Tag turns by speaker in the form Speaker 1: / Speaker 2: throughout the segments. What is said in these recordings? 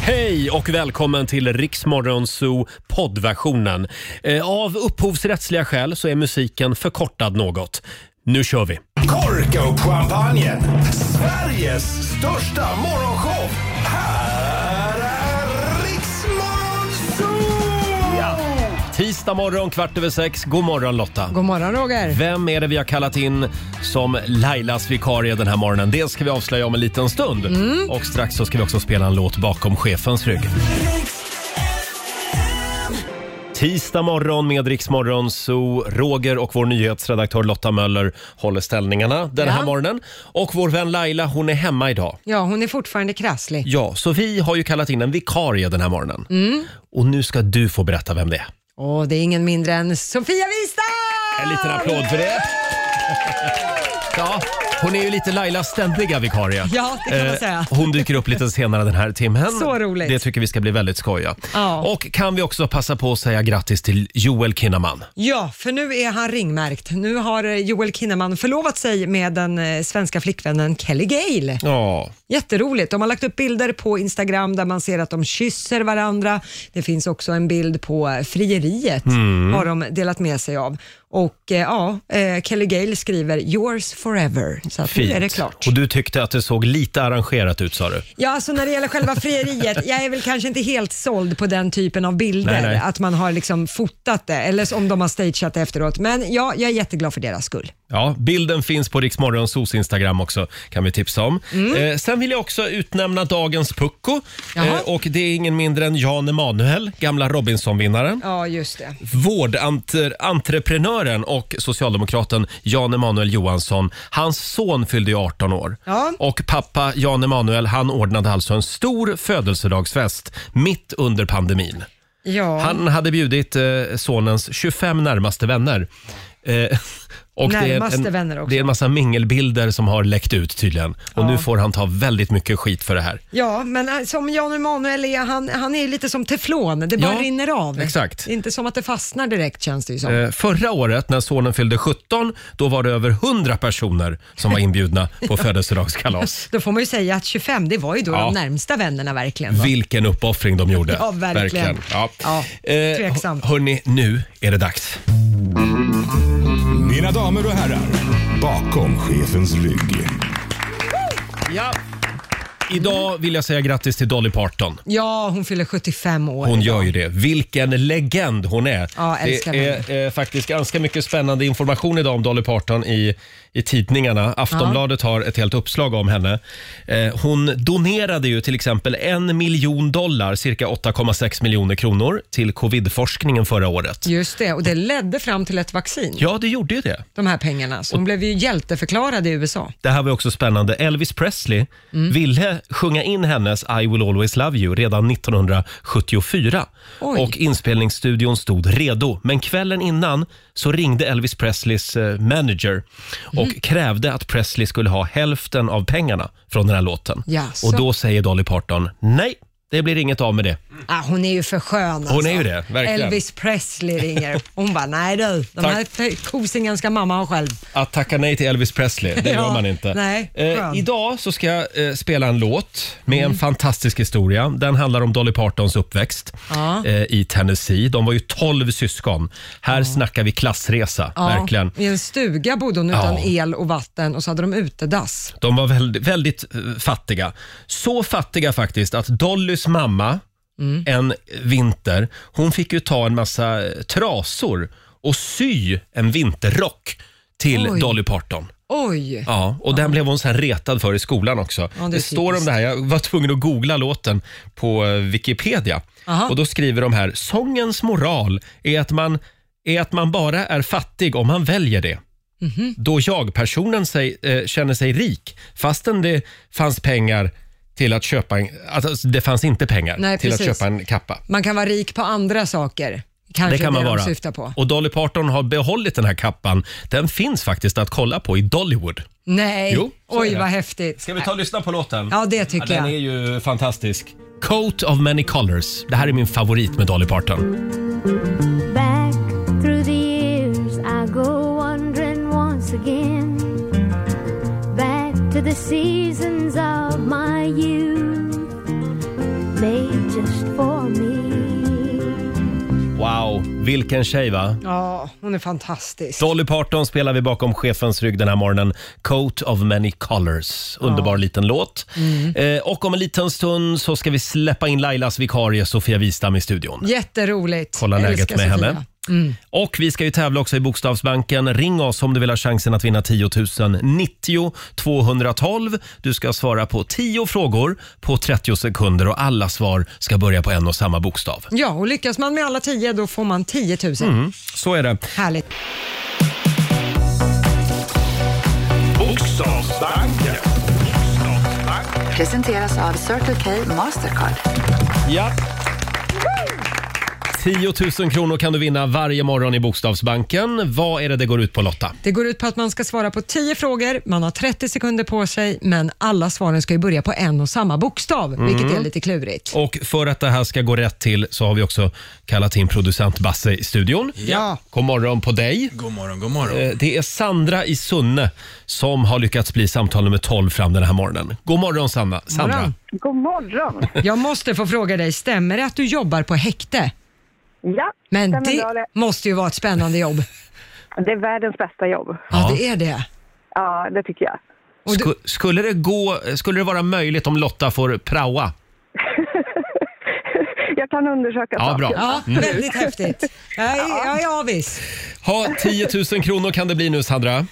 Speaker 1: Hej och välkommen till Riksmorgon Zoo poddversionen. Eh, Av upphovsrättsliga skäl så är musiken förkortad något. Nu kör vi!
Speaker 2: Korka upp champagnen! Sveriges största morgonshow! Här är Riksmorgon ja.
Speaker 1: Tisdag morgon kvart över sex. God morgon Lotta!
Speaker 3: God morgon Roger.
Speaker 1: Vem är det vi har kallat in som Lailas vikarie den här morgonen? Det ska vi avslöja om en liten stund. Och strax så ska vi också spela en låt bakom chefens rygg. Tisdag morgon med Rix Morgon, så Roger och vår nyhetsredaktör Lotta Möller håller ställningarna den här
Speaker 3: Ja.
Speaker 1: morgonen. Och vår vän Laila, hon är hemma idag.
Speaker 3: Ja, hon är fortfarande krasslig.
Speaker 1: Ja, så vi har ju kallat in en vikarie den här morgonen. Och nu ska du få berätta vem det är.
Speaker 3: Och det är ingen mindre än Sofia Wistam!
Speaker 1: En liten applåd för det. Ja, hon är ju lite Lailas ständiga vikarie.
Speaker 3: Ja, det kan man
Speaker 1: Eh,
Speaker 3: säga.
Speaker 1: Hon dyker upp lite senare den här timmen.
Speaker 3: Så roligt.
Speaker 1: Det tycker vi ska bli väldigt skoja.
Speaker 3: Ja.
Speaker 1: Och kan vi också passa på att säga grattis till Joel Kinnaman.
Speaker 3: Ja, för nu är han ringmärkt. Nu har eh, Joel Kinnaman förlovat sig med den eh, svenska flickvännen Kelly Gale.
Speaker 1: Ja.
Speaker 3: Jätteroligt. De har lagt upp bilder på Instagram där man ser att de kysser varandra. Det finns också en bild på eh, frieriet
Speaker 1: Mm.
Speaker 3: har de delat med sig av. Och eh, ja, eh, Kelly Gale skriver “Yours forever”. Så att nu är det klart.
Speaker 1: Och du tyckte att det såg lite arrangerat ut sa du.
Speaker 3: Ja, alltså när det gäller själva frieriet, jag är väl kanske inte helt såld på den typen av bilder,
Speaker 1: Nej, nej.
Speaker 3: att man har liksom fotat det, eller om de har stageat det efteråt. Men ja, jag är jätteglad för deras skull.
Speaker 1: Ja, bilden finns på Riksmorgonsos Instagram också kan vi tipsa om. Eh, sen vill jag också utnämna dagens pucko.
Speaker 3: Mm. Jaha.
Speaker 1: Eh, och det är ingen mindre än Jan Emanuel, gamla Robinson-vinnaren.
Speaker 3: Ja, just det.
Speaker 1: Vårdentreprenören och socialdemokraten Jan Emanuel Johansson. Hans son fyllde ju 18 år.
Speaker 3: Ja.
Speaker 1: Och pappa Jan Emanuel han ordnade alltså en stor födelsedagsfest mitt under pandemin.
Speaker 3: Ja,
Speaker 1: Han hade bjudit eh, sonens 25 närmaste vänner. Eh, och det,
Speaker 3: Närmaste
Speaker 1: är en,
Speaker 3: vänner också.
Speaker 1: det är en massa mingelbilder som har läckt ut tydligen. Och
Speaker 3: Ja.
Speaker 1: nu får han ta väldigt mycket skit för det här.
Speaker 3: ja men eh, som Jan Emanuel är, han, han är lite som teflon, det bara
Speaker 1: Ja,
Speaker 3: rinner av.
Speaker 1: exakt.
Speaker 3: Det är inte som att det fastnar direkt känns det ju som.
Speaker 1: Eh, Förra året när sonen fyllde 17, då var det över 100 personer som var inbjudna på födelsedagskalas.
Speaker 3: Då får man ju säga att 25, det var ju då
Speaker 1: Ja.
Speaker 3: de närmsta vännerna verkligen. Då.
Speaker 1: Vilken uppoffring de gjorde.
Speaker 3: Ja, verkligen.
Speaker 1: Ja.
Speaker 3: Ja,
Speaker 1: Eh,
Speaker 3: tveksamt.
Speaker 1: hörni, nu är det dags.
Speaker 2: Mina damer och herrar, bakom chefens rygg.
Speaker 1: Ja. Idag vill jag säga grattis till Dolly Parton.
Speaker 3: Ja, hon fyller 75 år.
Speaker 1: Hon gör ju det. Vilken legend hon är.
Speaker 3: Ja,
Speaker 1: det
Speaker 3: älskar
Speaker 1: är eh, faktiskt ganska mycket spännande information idag om Dolly Parton i, i tidningarna. Aftonbladet har ett helt uppslag om henne. Eh, hon donerade ju till exempel en miljon dollar, cirka 8,6 miljoner kronor, till covidforskningen förra året.
Speaker 3: Just det, och det ledde fram till ett vaccin,
Speaker 1: Ja, det gjorde ju det.
Speaker 3: de här pengarna. Så hon blev ju hjälteförklarad i USA.
Speaker 1: Det här var också spännande. Elvis Presley ville sjunga in hennes I will always love you redan 1974.
Speaker 3: Oj.
Speaker 1: Och inspelningsstudion stod redo. Men kvällen innan så ringde Elvis Presleys eh, manager och krävde att Presley skulle ha hälften av pengarna från den här låten.
Speaker 3: Jaså.
Speaker 1: Och då säger Dolly Parton nej. Det blir inget av med det.
Speaker 3: Ah, hon är ju för skön alltså.
Speaker 1: är ju det, verkligen.
Speaker 3: Elvis Presley ringer. Hon bara, nej du, de
Speaker 1: Tack.
Speaker 3: här t- kosingen ska mamma ha själv.
Speaker 1: Att tacka nej till Elvis Presley, det gör
Speaker 3: Ja,
Speaker 1: man inte.
Speaker 3: nej,
Speaker 1: eh,
Speaker 3: skönt. Mm.
Speaker 1: idag så ska jag eh, spela en låt med en fantastisk historia. Den handlar om Dolly Partons uppväxt
Speaker 3: Ja.
Speaker 1: eh, i Tennessee. De var ju 12 syskon. Här snackar vi klassresa,
Speaker 3: Ja,
Speaker 1: verkligen.
Speaker 3: I en stuga bodde hon utan
Speaker 1: Ja.
Speaker 3: el och vatten och så hade de utedass.
Speaker 1: De var väldigt, väldigt eh, fattiga. Så fattiga faktiskt att Dollys mamma
Speaker 3: Mm.
Speaker 1: en vinter, hon fick ju ta en massa eh, trasor och sy en vinterrock till
Speaker 3: Oj.
Speaker 1: Dolly Parton.
Speaker 3: Oj!
Speaker 1: Ja, och den blev hon sen retad för i skolan också.
Speaker 3: det är
Speaker 1: det står om
Speaker 3: typiskt.
Speaker 1: det här, jag var tvungen att googla låten på eh, Wikipedia.
Speaker 3: Aha.
Speaker 1: Och då skriver de här, sångens moral är att man, är att man bara är fattig om man väljer det.
Speaker 3: Mhm.
Speaker 1: Då jag-personen sig, eh, känner sig rik fastän det fanns pengar till att köpa en, alltså, det fanns inte pengar
Speaker 3: Nej,
Speaker 1: till att
Speaker 3: precis.
Speaker 1: köpa en kappa.
Speaker 3: Man kan vara rik på andra saker. Kanske
Speaker 1: Det kan man
Speaker 3: de
Speaker 1: vara.
Speaker 3: syftar på.
Speaker 1: Och Dolly Parton har behållit den här kappan. Den finns faktiskt att kolla på i Dollywood.
Speaker 3: Nej,
Speaker 1: Jo, så är
Speaker 3: oj
Speaker 1: det.
Speaker 3: vad häftigt.
Speaker 1: Ska vi ta och lyssna på låten?
Speaker 3: Ja, det tycker
Speaker 1: den
Speaker 3: jag.
Speaker 1: Den är ju fantastisk. Coat of many colors. Det här är min favorit med Dolly Parton.
Speaker 4: Back through the years, I go wandering once again. Back to the seasons of my youth. Maybe just for me.
Speaker 1: Wow, vilken tjej va?
Speaker 3: Ja, hon är fantastisk.
Speaker 1: Dolly Parton spelar vi bakom chefens rygg den här morgonen. Coat of many colors. Underbar liten låt.
Speaker 3: Mm.
Speaker 1: Eh, och om en liten stund så ska vi släppa in Lailas vikarie Sofia Wistam i studion.
Speaker 3: Jätteroligt.
Speaker 1: Kolla
Speaker 3: Jag
Speaker 1: läget
Speaker 3: älskar
Speaker 1: med
Speaker 3: Sofia. Mm.
Speaker 1: henne. Och vi ska ju tävla också i Bokstavsbanken. Ring oss om du vill ha chansen att vinna 10 000 90 212. Du ska svara på 10 frågor på 30 sekunder och alla svar ska börja på en och samma bokstav.
Speaker 3: Ja, och lyckas man med alla tio då får man 10 000.
Speaker 1: Mm. Så är det.
Speaker 3: Härligt.
Speaker 5: Presenteras av Circle K Mastercard.
Speaker 1: Ja. 10 000 kronor kan du vinna varje morgon i Bokstavsbanken. Vad är det det går ut på Lotta?
Speaker 3: Det går ut på att man ska svara på 10 frågor, man har 30 sekunder på sig, men alla svaren ska ju börja på en och samma bokstav, vilket är lite klurigt.
Speaker 1: Och för att det här ska gå rätt till så har vi också kallat in producent Basse i studion.
Speaker 3: Ja.
Speaker 1: God morgon på dig.
Speaker 6: God morgon, god morgon.
Speaker 1: Eh, Det är Sandra i Sunne som har lyckats bli samtal nummer 12 fram den här morgonen. God morgon Sanna. Sandra.
Speaker 3: morgon.
Speaker 7: God morgon.
Speaker 3: Jag måste få fråga dig, stämmer det att du jobbar på häkte?
Speaker 7: Ja,
Speaker 3: Men
Speaker 7: stämmer bra
Speaker 3: det
Speaker 7: det,
Speaker 3: måste ju vara ett spännande jobb.
Speaker 7: det är världens bästa jobb.
Speaker 3: Ja,
Speaker 1: Ja.
Speaker 3: det är det.
Speaker 7: Ja, det tycker jag.
Speaker 3: Och du-
Speaker 1: Sku- skulle, det gå, skulle det vara möjligt om Lotta får praoa?
Speaker 7: Jag kan undersöka
Speaker 1: Ja, bra.
Speaker 3: Ja, väldigt häftigt. Jag är, jag är avis.
Speaker 1: Ha, 10 000 kronor kan det bli nu Sandra.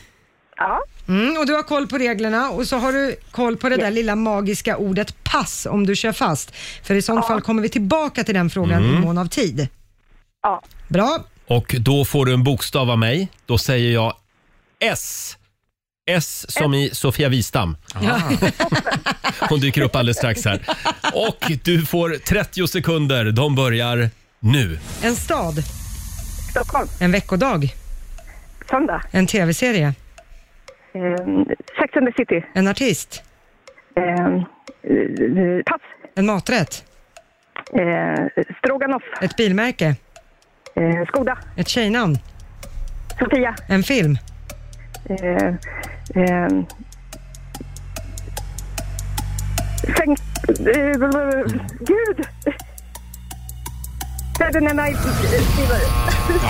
Speaker 7: Ja,
Speaker 3: Mm, och du har koll på reglerna och så har du koll på det där lilla magiska ordet pass om du kör fast. För i sånt fall kommer vi tillbaka till den frågan i mån av tid.
Speaker 7: ja.
Speaker 3: Bra.
Speaker 1: Och då får du en bokstav av mig. Då säger jag S. S som i Sofia Wistam. Ah. Hon dyker upp alldeles strax här. Och du får 30 sekunder. De börjar nu.
Speaker 3: En stad,
Speaker 7: Stockholm.
Speaker 3: en veckodag,
Speaker 7: Söndag.
Speaker 3: en tv-serie,
Speaker 7: Eh, Sex and the City.
Speaker 3: en artist,
Speaker 7: Eh, eh, pass.
Speaker 3: en maträtt,
Speaker 7: Eh, Stroganoff.
Speaker 3: ett bilmärke,
Speaker 7: Eh, Skoda.
Speaker 3: ett tjejnamn,
Speaker 7: Sofia.
Speaker 3: en film,
Speaker 7: Eh, eh, Säng... Eh, Gud! Saturday Night Fever.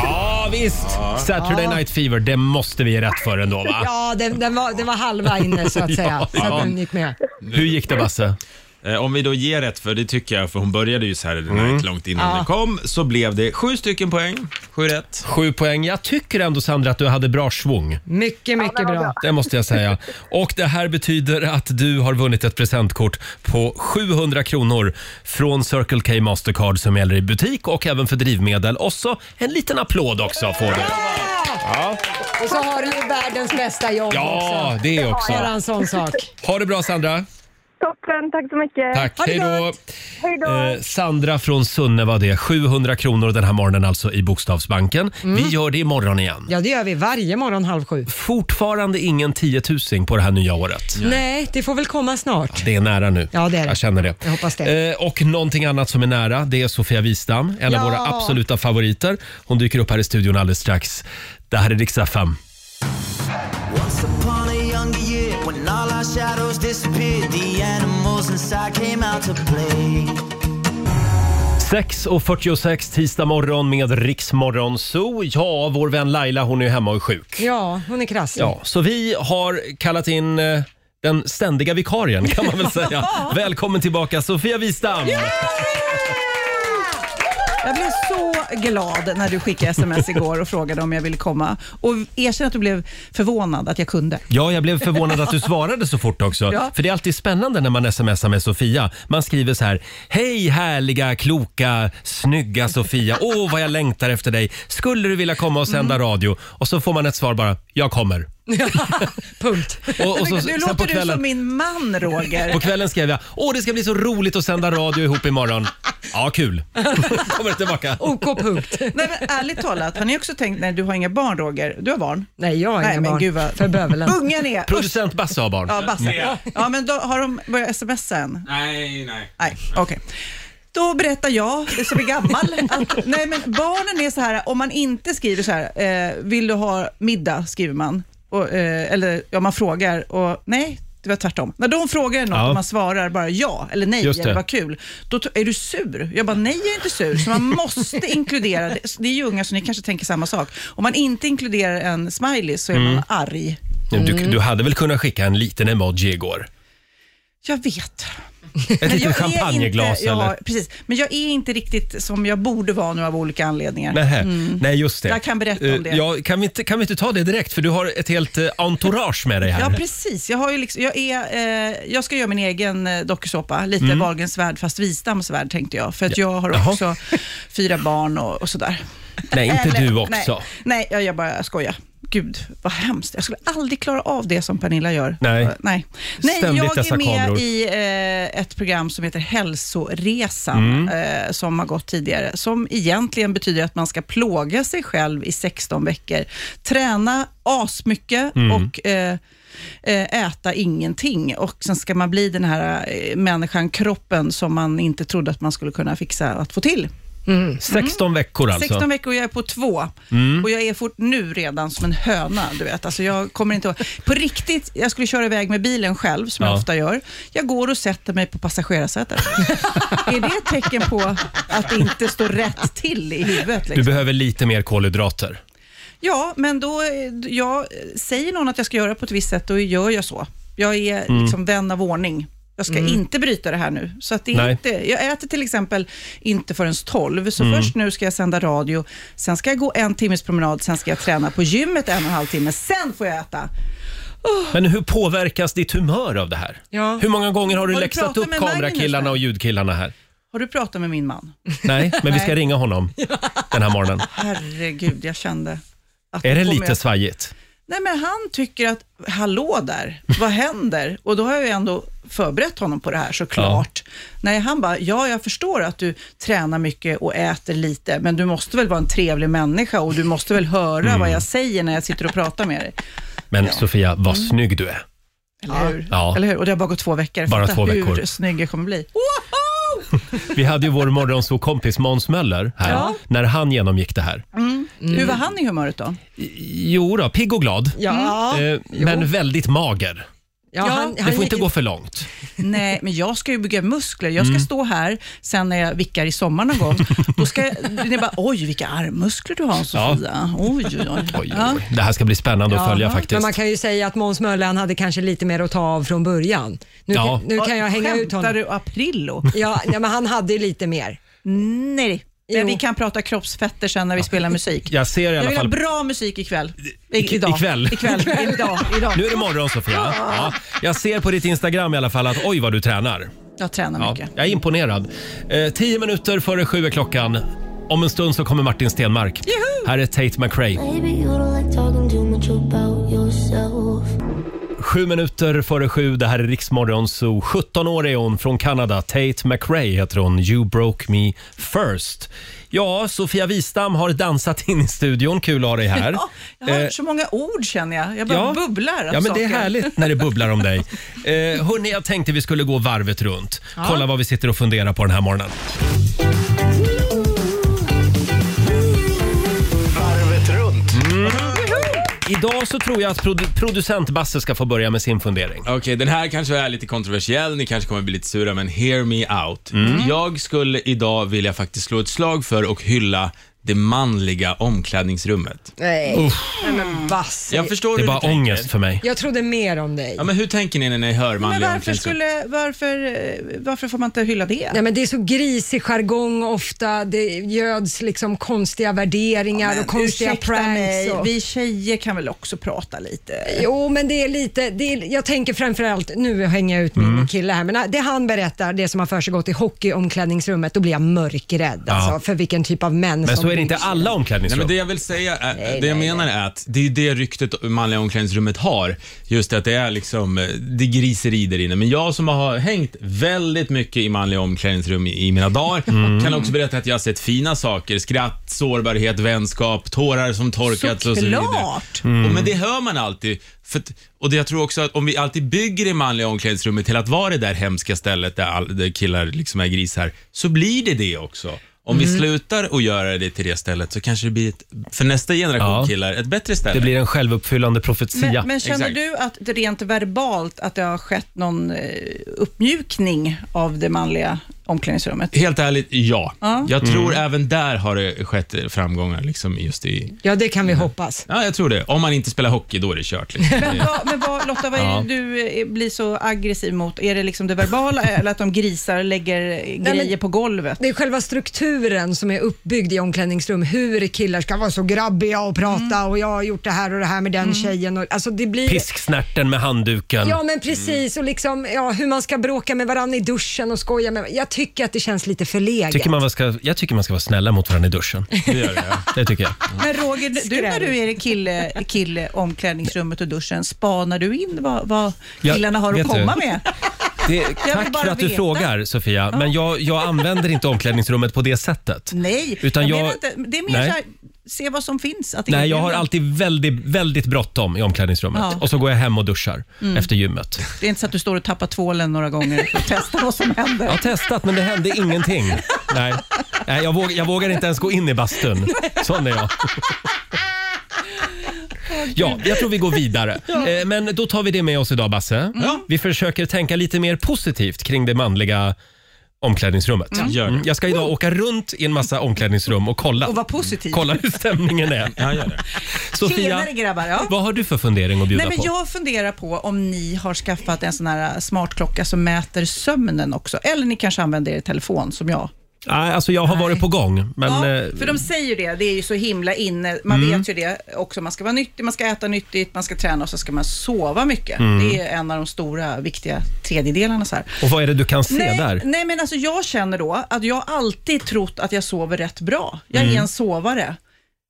Speaker 1: Ja, visst! Saturday Night Fever, det måste vi ge rätt för ändå va?
Speaker 3: Ja, den, den var, det var halva inne så att säga. Så att den gick med.
Speaker 1: Hur gick det Basse?
Speaker 6: Eh, Om vi då ger rätt, för det tycker jag, för hon började ju så här mm. långt innan
Speaker 3: Ja.
Speaker 6: det kom, så blev det sju stycken poäng. Sju rätt.
Speaker 1: Sju poäng. Jag tycker ändå Sandra att du hade bra svung.
Speaker 3: Mycket, mycket bra.
Speaker 1: Det måste jag säga. Och det här betyder att du har vunnit ett presentkort på 700 kronor från Circle K Mastercard som gäller i butik och även för drivmedel. Och så en liten applåd också får du.
Speaker 3: Och så har du ju världens bästa jobb
Speaker 1: Ja,
Speaker 3: också.
Speaker 1: det också.
Speaker 3: Bara en sån sak.
Speaker 1: Ha det bra Sandra.
Speaker 7: Toppen, tack så mycket.
Speaker 1: Tack.
Speaker 3: Ha det
Speaker 1: Hej då.
Speaker 3: gott.
Speaker 7: Hej då.
Speaker 1: Eh, Sandra från Sunne var det. 700 kronor den här morgonen alltså i Bokstavsbanken. Vi gör det imorgon igen.
Speaker 3: Ja, det gör vi varje morgon halv sju.
Speaker 1: Fortfarande ingen 10 000 på det här nya året.
Speaker 3: Nej, det får väl komma snart.
Speaker 1: Det är nära nu.
Speaker 3: Ja, det är det.
Speaker 1: Jag känner det.
Speaker 3: Jag hoppas det.
Speaker 1: Eh, och någonting annat som är nära, det är Sofia Wistam. En av
Speaker 3: Ja.
Speaker 1: våra absoluta favoriter. Hon dyker upp här i studion alldeles strax. Det här är Riksdag 5.
Speaker 8: Once upon a younger year, when all our shadows disappeared, the animals inside came out to play.
Speaker 1: 6.46 tisdag morgon med Riksmorgon Zoo. Ja, vår vän Laila hon är ju hemma och är sjuk.
Speaker 3: Ja, hon är krasslig.
Speaker 1: Ja, så vi har kallat in eh, den ständiga vikarien kan man väl säga. Välkommen tillbaka Sofia Wistam!
Speaker 9: Jag blev så glad när du skickade sms igår och frågade om jag ville komma. Och erkänn att du blev förvånad att jag kunde.
Speaker 1: Ja, jag blev förvånad att du svarade så fort också.
Speaker 9: Ja.
Speaker 1: För det är alltid spännande när man smsar med Sofia. Man skriver så här. Hej härliga, kloka, snygga Sofia. Åh, vad jag längtar efter dig. Skulle du vilja komma och sända
Speaker 9: Mm.
Speaker 1: radio? Och så får man ett svar bara. Jag kommer.
Speaker 3: Punkt.
Speaker 1: Och, och så,
Speaker 9: nu
Speaker 1: sen
Speaker 9: låter
Speaker 1: på
Speaker 9: du som
Speaker 1: kvällen,
Speaker 9: min man, Roger.
Speaker 1: på kvällen skrev jag. Åh, det ska bli så roligt att sända radio ihop imorgon. Ja, kul. kommer tillbaka.
Speaker 3: OK punkt.
Speaker 9: Nej, men ärligt talat, har ni också tänkt, nej du har inga barn Roger, du har barn?
Speaker 3: Nej, jag har
Speaker 9: Nej
Speaker 3: inga barn.
Speaker 9: gud vad...
Speaker 3: För bövelen.
Speaker 9: Ungen är... Usch.
Speaker 1: Producent Basse har barn.
Speaker 9: Ja, Basse. Ja, men då har de börjat smsa än?
Speaker 6: Nej, nej.
Speaker 9: Nej, okej. Då berättar jag, som är gammal, att nej, men barnen är så här, om man inte skriver så här, eh, vill du ha middag, skriver man. Och, eh, eller ja, man frågar och nej, Det var tvärtom. När de frågar något
Speaker 1: Ja.
Speaker 9: och man svarar bara ja eller nej,
Speaker 1: Just det.
Speaker 9: eller vad kul, då t- är du sur? Jag bara, nej jag är inte sur. Så man måste inkludera, det, det är ju unga så ni kanske tänker samma sak. Om man inte inkluderar en smiley så är
Speaker 1: Mm.
Speaker 9: man arg.
Speaker 1: Du,
Speaker 9: Mm.
Speaker 1: du hade väl kunnat skicka en liten emoji igår?
Speaker 9: Jag vet.
Speaker 1: Ett
Speaker 9: jag
Speaker 1: litet
Speaker 9: är
Speaker 1: champagneglas
Speaker 9: inte, ja,
Speaker 1: eller?
Speaker 9: precis. Men jag är inte riktigt som jag borde vara nu av olika anledningar.
Speaker 1: Nähä. Nej, just det.
Speaker 9: Mm. Jag kan berätta om det.
Speaker 1: Eh, Ja, kan, vi inte, kan vi inte ta det direkt? För du har ett helt eh, entourage med dig här.
Speaker 9: Ja, precis. Jag, har ju liksom, jag, är, eh, jag ska göra min egen eh, dokusåpa, lite Wahlgrens värld fast Wistams värld tänkte jag. För att jag har
Speaker 1: Mm. Jaha.
Speaker 9: också fyra barn och, och sådär.
Speaker 1: Nej, inte
Speaker 9: Eller-
Speaker 1: du också.
Speaker 9: Nej, nej jag, jag bara skojar. Gud, vad hemskt. Jag skulle aldrig klara av det som Pernilla gör.
Speaker 1: Nej.
Speaker 9: Eh, Nej, nej
Speaker 1: Ständigt
Speaker 9: jag
Speaker 1: dessa
Speaker 9: är med
Speaker 1: kameror.
Speaker 9: i eh, ett program som heter
Speaker 1: Mm.
Speaker 9: Hälsoresan, eh, som har gått tidigare, som egentligen betyder att man ska plåga sig själv i 16 veckor, träna asmycket
Speaker 1: Mm.
Speaker 9: och eh, eh, äta ingenting och sen ska man bli den här eh, människan, kroppen, som man inte trodde att man skulle kunna fixa att få till.
Speaker 1: 16 veckor alltså. Mm.
Speaker 9: 16 Mm. veckor och jag är på två. Och jag är fort, nu redan som en höna, du vet. Alltså jag kommer inte ihåg. På riktigt, jag skulle köra iväg med bilen själv, som
Speaker 1: Ja.
Speaker 9: jag ofta gör. Jag går och sätter mig på passagerarsätet. är det ett tecken på att det inte står rätt till i huvudet?
Speaker 1: Du
Speaker 9: Liksom?
Speaker 1: behöver lite mer kolhydrater.
Speaker 9: Ja, men då, eh, jag, säger någon att jag ska göra på ett visst sätt, då gör jag så. Jag är
Speaker 1: Mm.
Speaker 9: liksom vän av ordning. Jag ska inte bryta det här nu. Så att det är
Speaker 1: Nej.
Speaker 9: inte, jag äter till exempel inte förrän 12, så
Speaker 1: Mm.
Speaker 9: först nu ska jag sända radio, sen ska jag gå en timmes promenad, sen ska jag träna på gymmet en och en halv timme, sen får jag äta.
Speaker 1: Men hur påverkas ditt humör av det här?
Speaker 3: Ja.
Speaker 1: Hur många gånger har du
Speaker 9: Har du
Speaker 1: läxat
Speaker 9: pratat
Speaker 1: upp
Speaker 9: med Magnus
Speaker 1: kamerakillarna
Speaker 9: där?
Speaker 1: och ljudkillarna här?
Speaker 9: Har du pratat med min man?
Speaker 1: Nej, men vi ska
Speaker 9: Nej.
Speaker 1: ringa honom den här morgonen.
Speaker 9: Herregud, jag kände att
Speaker 1: Är det
Speaker 9: nu kommer
Speaker 1: lite
Speaker 9: jag-
Speaker 1: svajigt?
Speaker 9: Nej, men han tycker att, hallå där, vad händer? Och då har jag ju ändå förberett honom på det här såklart. Nej, han bara, ja jag förstår att du tränar mycket och äter lite, men du måste väl vara en trevlig människa och du måste väl höra vad jag säger när jag sitter och pratar med dig.
Speaker 1: Men Sofia, vad
Speaker 9: Mm.
Speaker 1: snygg du är.
Speaker 9: Eller hur?
Speaker 1: Ja.
Speaker 9: Eller hur? Och det har bara gått två veckor.
Speaker 1: Bara
Speaker 9: Fatta
Speaker 1: två veckor.
Speaker 9: hur snygg jag kommer bli.
Speaker 1: Vi hade ju vår morgonsåkompis Måns Möller här,
Speaker 9: Ja.
Speaker 1: när han genomgick det här.
Speaker 9: Hur var han i humöret då?
Speaker 1: Jo då, pigg och glad,
Speaker 3: Ja,
Speaker 1: eh, men väldigt mager.
Speaker 3: ja, han,
Speaker 1: Det
Speaker 3: han
Speaker 1: får
Speaker 3: gick
Speaker 1: inte gå för långt.
Speaker 9: Nej, men jag ska ju bygga muskler. Jag ska stå här sen när jag vickar i sommar någon gång. Då ska jag, ni bara, oj vilka armmuskler du har Sofia. Oj, oj, oj.
Speaker 1: Oj,
Speaker 9: Ja.
Speaker 1: oj. Det här ska bli spännande att följa
Speaker 3: Men
Speaker 1: faktiskt.
Speaker 3: man kan ju säga att Måns Möller han hade kanske lite mer att ta av från början. Nu,
Speaker 1: Ja.
Speaker 3: nu kan jag hänga ut
Speaker 9: Skämtar
Speaker 3: honom.
Speaker 9: du Aprillo?
Speaker 3: Ja, nej, men han hade ju lite mer.
Speaker 9: Nej.
Speaker 3: Jo.
Speaker 9: Men vi kan prata kroppsfetter sen när vi spelar musik.
Speaker 1: Jag ser i
Speaker 9: Jag
Speaker 1: alla
Speaker 9: vill ha
Speaker 1: fall...
Speaker 9: bra musik ikväll.
Speaker 1: I-
Speaker 9: I, idag.
Speaker 1: ikväll.
Speaker 9: Ikväll. Idag. idag.
Speaker 1: Nu är det morgon Sofia. Ja. Jag ser på ditt Instagram i alla fall att oj vad du tränar.
Speaker 9: Jag tränar
Speaker 1: Ja,
Speaker 9: mycket.
Speaker 1: jag är imponerad. Eh, tio minuter före sju är klockan. Om en stund så kommer Martin Stenmark. Här är Tate McRae.
Speaker 4: Baby, you don't like talking too much about yourself.
Speaker 1: Sju minuter före sju, det här är Riksmorgon Zoo. 17 år är hon från Kanada. Tate McRae heter hon. You broke me first. Ja, Sofia Wistam har dansat in i studion. Kul att ha dig här.
Speaker 9: Ja, jag har
Speaker 1: Eh,
Speaker 9: hört så många ord känner jag. Jag bara bubblar av
Speaker 1: Ja, men
Speaker 9: saker.
Speaker 1: det är härligt när det bubblar om dig. Eh, hörni, jag tänkte vi skulle gå varvet runt. Kolla vad vi sitter och funderar på den här morgonen. Mm. Idag så tror jag att produ- producent Basse ska få börja med sin fundering.
Speaker 6: Okej, den här kanske är lite kontroversiell, ni kanske kommer bli lite sura, men hear me out.
Speaker 1: Mm.
Speaker 6: Jag skulle idag vilja faktiskt slå ett slag för och hylla det manliga omklädningsrummet.
Speaker 3: Nej, nej men vass.
Speaker 6: Jag förstår
Speaker 1: Det är
Speaker 6: hur
Speaker 1: bara
Speaker 6: ni tänker.
Speaker 1: ångest för mig.
Speaker 3: Jag trodde mer om dig.
Speaker 6: Ja, men hur tänker ni när ni hör
Speaker 9: Men
Speaker 6: manliga
Speaker 9: varför,
Speaker 6: omklädningsrum?
Speaker 9: skulle, varför, eh, varför får man inte hylla det?
Speaker 3: Nej, men det är så grisig jargong ofta. Det göds liksom konstiga värderingar och konstiga
Speaker 9: Ursäkta
Speaker 3: pranks.
Speaker 9: mig,
Speaker 3: Och...
Speaker 9: vi tjejer kan väl också prata lite?
Speaker 3: Jo, men det är lite, det är, jag tänker framförallt, nu hänger jag ut min
Speaker 1: Mm.
Speaker 3: kille här, men ah, det han berättar, det som har försiggått i hockeyomklädningsrummet, då blir jag mörkrädd alltså, för vilken typ av män
Speaker 1: Men så
Speaker 3: som
Speaker 1: är det inte
Speaker 3: byggs.
Speaker 1: alla
Speaker 6: Nej,
Speaker 1: omklädningsrum.
Speaker 6: men det jag vill säga, är, det jag menar är att det är det ryktet manliga omklädningsrummet har. Just att det är liksom, eh, det är griseri där inne. Men jag som har hängt väldigt mycket i manliga omklädningsrum i, i mina dagar, kan också berätta att jag har sett fina saker. Skratt, sårbarhet, vänskap, tårar som torkats och så vidare.
Speaker 9: Såklart.
Speaker 6: Och, men det hör man alltid. För att, och det, jag tror också att om vi alltid bygger det manliga omklädningsrummet till att vara det där hemska stället där, all, där killar liksom är grisar, så blir det det också. Om
Speaker 9: Mm.
Speaker 6: vi slutar och göra det till det stället så kanske det blir, ett, för nästa generation
Speaker 1: Ja.
Speaker 6: killar, ett bättre ställe.
Speaker 1: Det blir en självuppfyllande profetia.
Speaker 9: Men, men känner
Speaker 6: Exakt.
Speaker 9: du att det rent verbalt att det har skett någon eh, uppmjukning av det manliga omklädningsrummet?
Speaker 6: Helt ärligt, ja.
Speaker 9: Ja.
Speaker 6: Jag tror
Speaker 1: Mm.
Speaker 6: även där har det skett framgångar. Liksom just i,
Speaker 3: Ja, det kan vi
Speaker 1: Mm.
Speaker 3: hoppas.
Speaker 6: ja, jag tror det. Om man inte spelar hockey, då är det kört. Liksom.
Speaker 9: Men, vad, men vad, Lotta, vad är det
Speaker 1: Ja.
Speaker 9: du eh, blir så aggressiv mot? Är det liksom det verbala eller att de grisar och lägger eh,
Speaker 3: men-
Speaker 9: grejer på golvet?
Speaker 3: Det är själva strukturen som är uppbyggd i omklädningsrum. Hur killar ska vara så grabbiga och prata
Speaker 9: Mm.
Speaker 3: och jag har gjort det här och det här med den tjejen. Och, alltså det blir...
Speaker 1: Pisksnärten med handduken.
Speaker 9: oh
Speaker 3: Ja men precis och liksom, ja, hur man ska bråka med varandra i duschen och skoja med Jag tycker att det känns lite förlegat.
Speaker 1: Tycker man ska, jag tycker man ska vara snälla mot varandra i duschen.
Speaker 6: Det gör det, ja.
Speaker 1: Det tycker jag.
Speaker 9: Men Roger, du när
Speaker 3: Skräll.
Speaker 9: du är i kille, kille omklädningsrummet och duschen, spanar du in vad, vad
Speaker 1: Ja,
Speaker 9: killarna har
Speaker 1: vet
Speaker 9: att
Speaker 1: du?
Speaker 9: komma med?
Speaker 1: Det,
Speaker 9: Jag
Speaker 1: tack
Speaker 9: vill bara
Speaker 1: för att du
Speaker 9: veta.
Speaker 1: frågar Sofia, men jag, jag använder inte omklädningsrummet på det sättet.
Speaker 9: Nej,
Speaker 1: Utan
Speaker 9: jag,
Speaker 1: jag-
Speaker 9: menar inte. Det är mer
Speaker 1: Nej.
Speaker 9: så här, se vad som finns. Att
Speaker 1: Nej, jag har
Speaker 9: erbjuda.
Speaker 1: alltid väldigt, väldigt bråttom i omklädningsrummet
Speaker 9: Ja. Mm.
Speaker 1: och så går jag hem och duschar efter gymmet.
Speaker 9: Det är inte så att du står och tappar tvålen några gånger för att testa vad som händer.
Speaker 1: Jag har testat men det hände ingenting. Nej, Nej jag, våg, jag vågar inte ens gå in i bastun. Sån är jag. Ja, jag tror vi går vidare. Eh, Men då tar vi det med oss idag,
Speaker 9: Mm.
Speaker 1: Basse. Vi försöker tänka lite mer positivt kring det manliga omklädningsrummet. Mm,
Speaker 6: Gör det.
Speaker 1: Jag ska idag åka runt i en massa omklädningsrum och kolla,
Speaker 9: Och vara positiv.
Speaker 1: kolla hur stämningen är.
Speaker 6: Ja, gör det.
Speaker 1: Sofia,
Speaker 9: Tjenare grabbar. Ja.
Speaker 1: vad har du för fundering att bjuda
Speaker 9: Nej, men
Speaker 1: på?
Speaker 9: jag funderar på om ni har skaffat en sån här äh, smartklocka som mäter sömnen också. Eller ni kanske använder er telefon som jag.
Speaker 1: Nej, alltså jag har varit på gång, men...
Speaker 9: ja,
Speaker 1: eh,
Speaker 9: för de säger ju det, det är ju så himla inne. Man
Speaker 1: Mm.
Speaker 9: vet ju det också. Man ska vara nyttig, man ska äta nyttigt, man ska träna och så ska man sova mycket.
Speaker 1: Mm.
Speaker 9: Det är en av de stora viktiga tredjedelarna. Så här.
Speaker 1: Och vad är det du kan se
Speaker 9: Nej,
Speaker 1: där?
Speaker 9: nej, men alltså jag känner då att jag alltid trott att jag sover rätt bra. Jag
Speaker 1: Mm.
Speaker 9: är en sovare.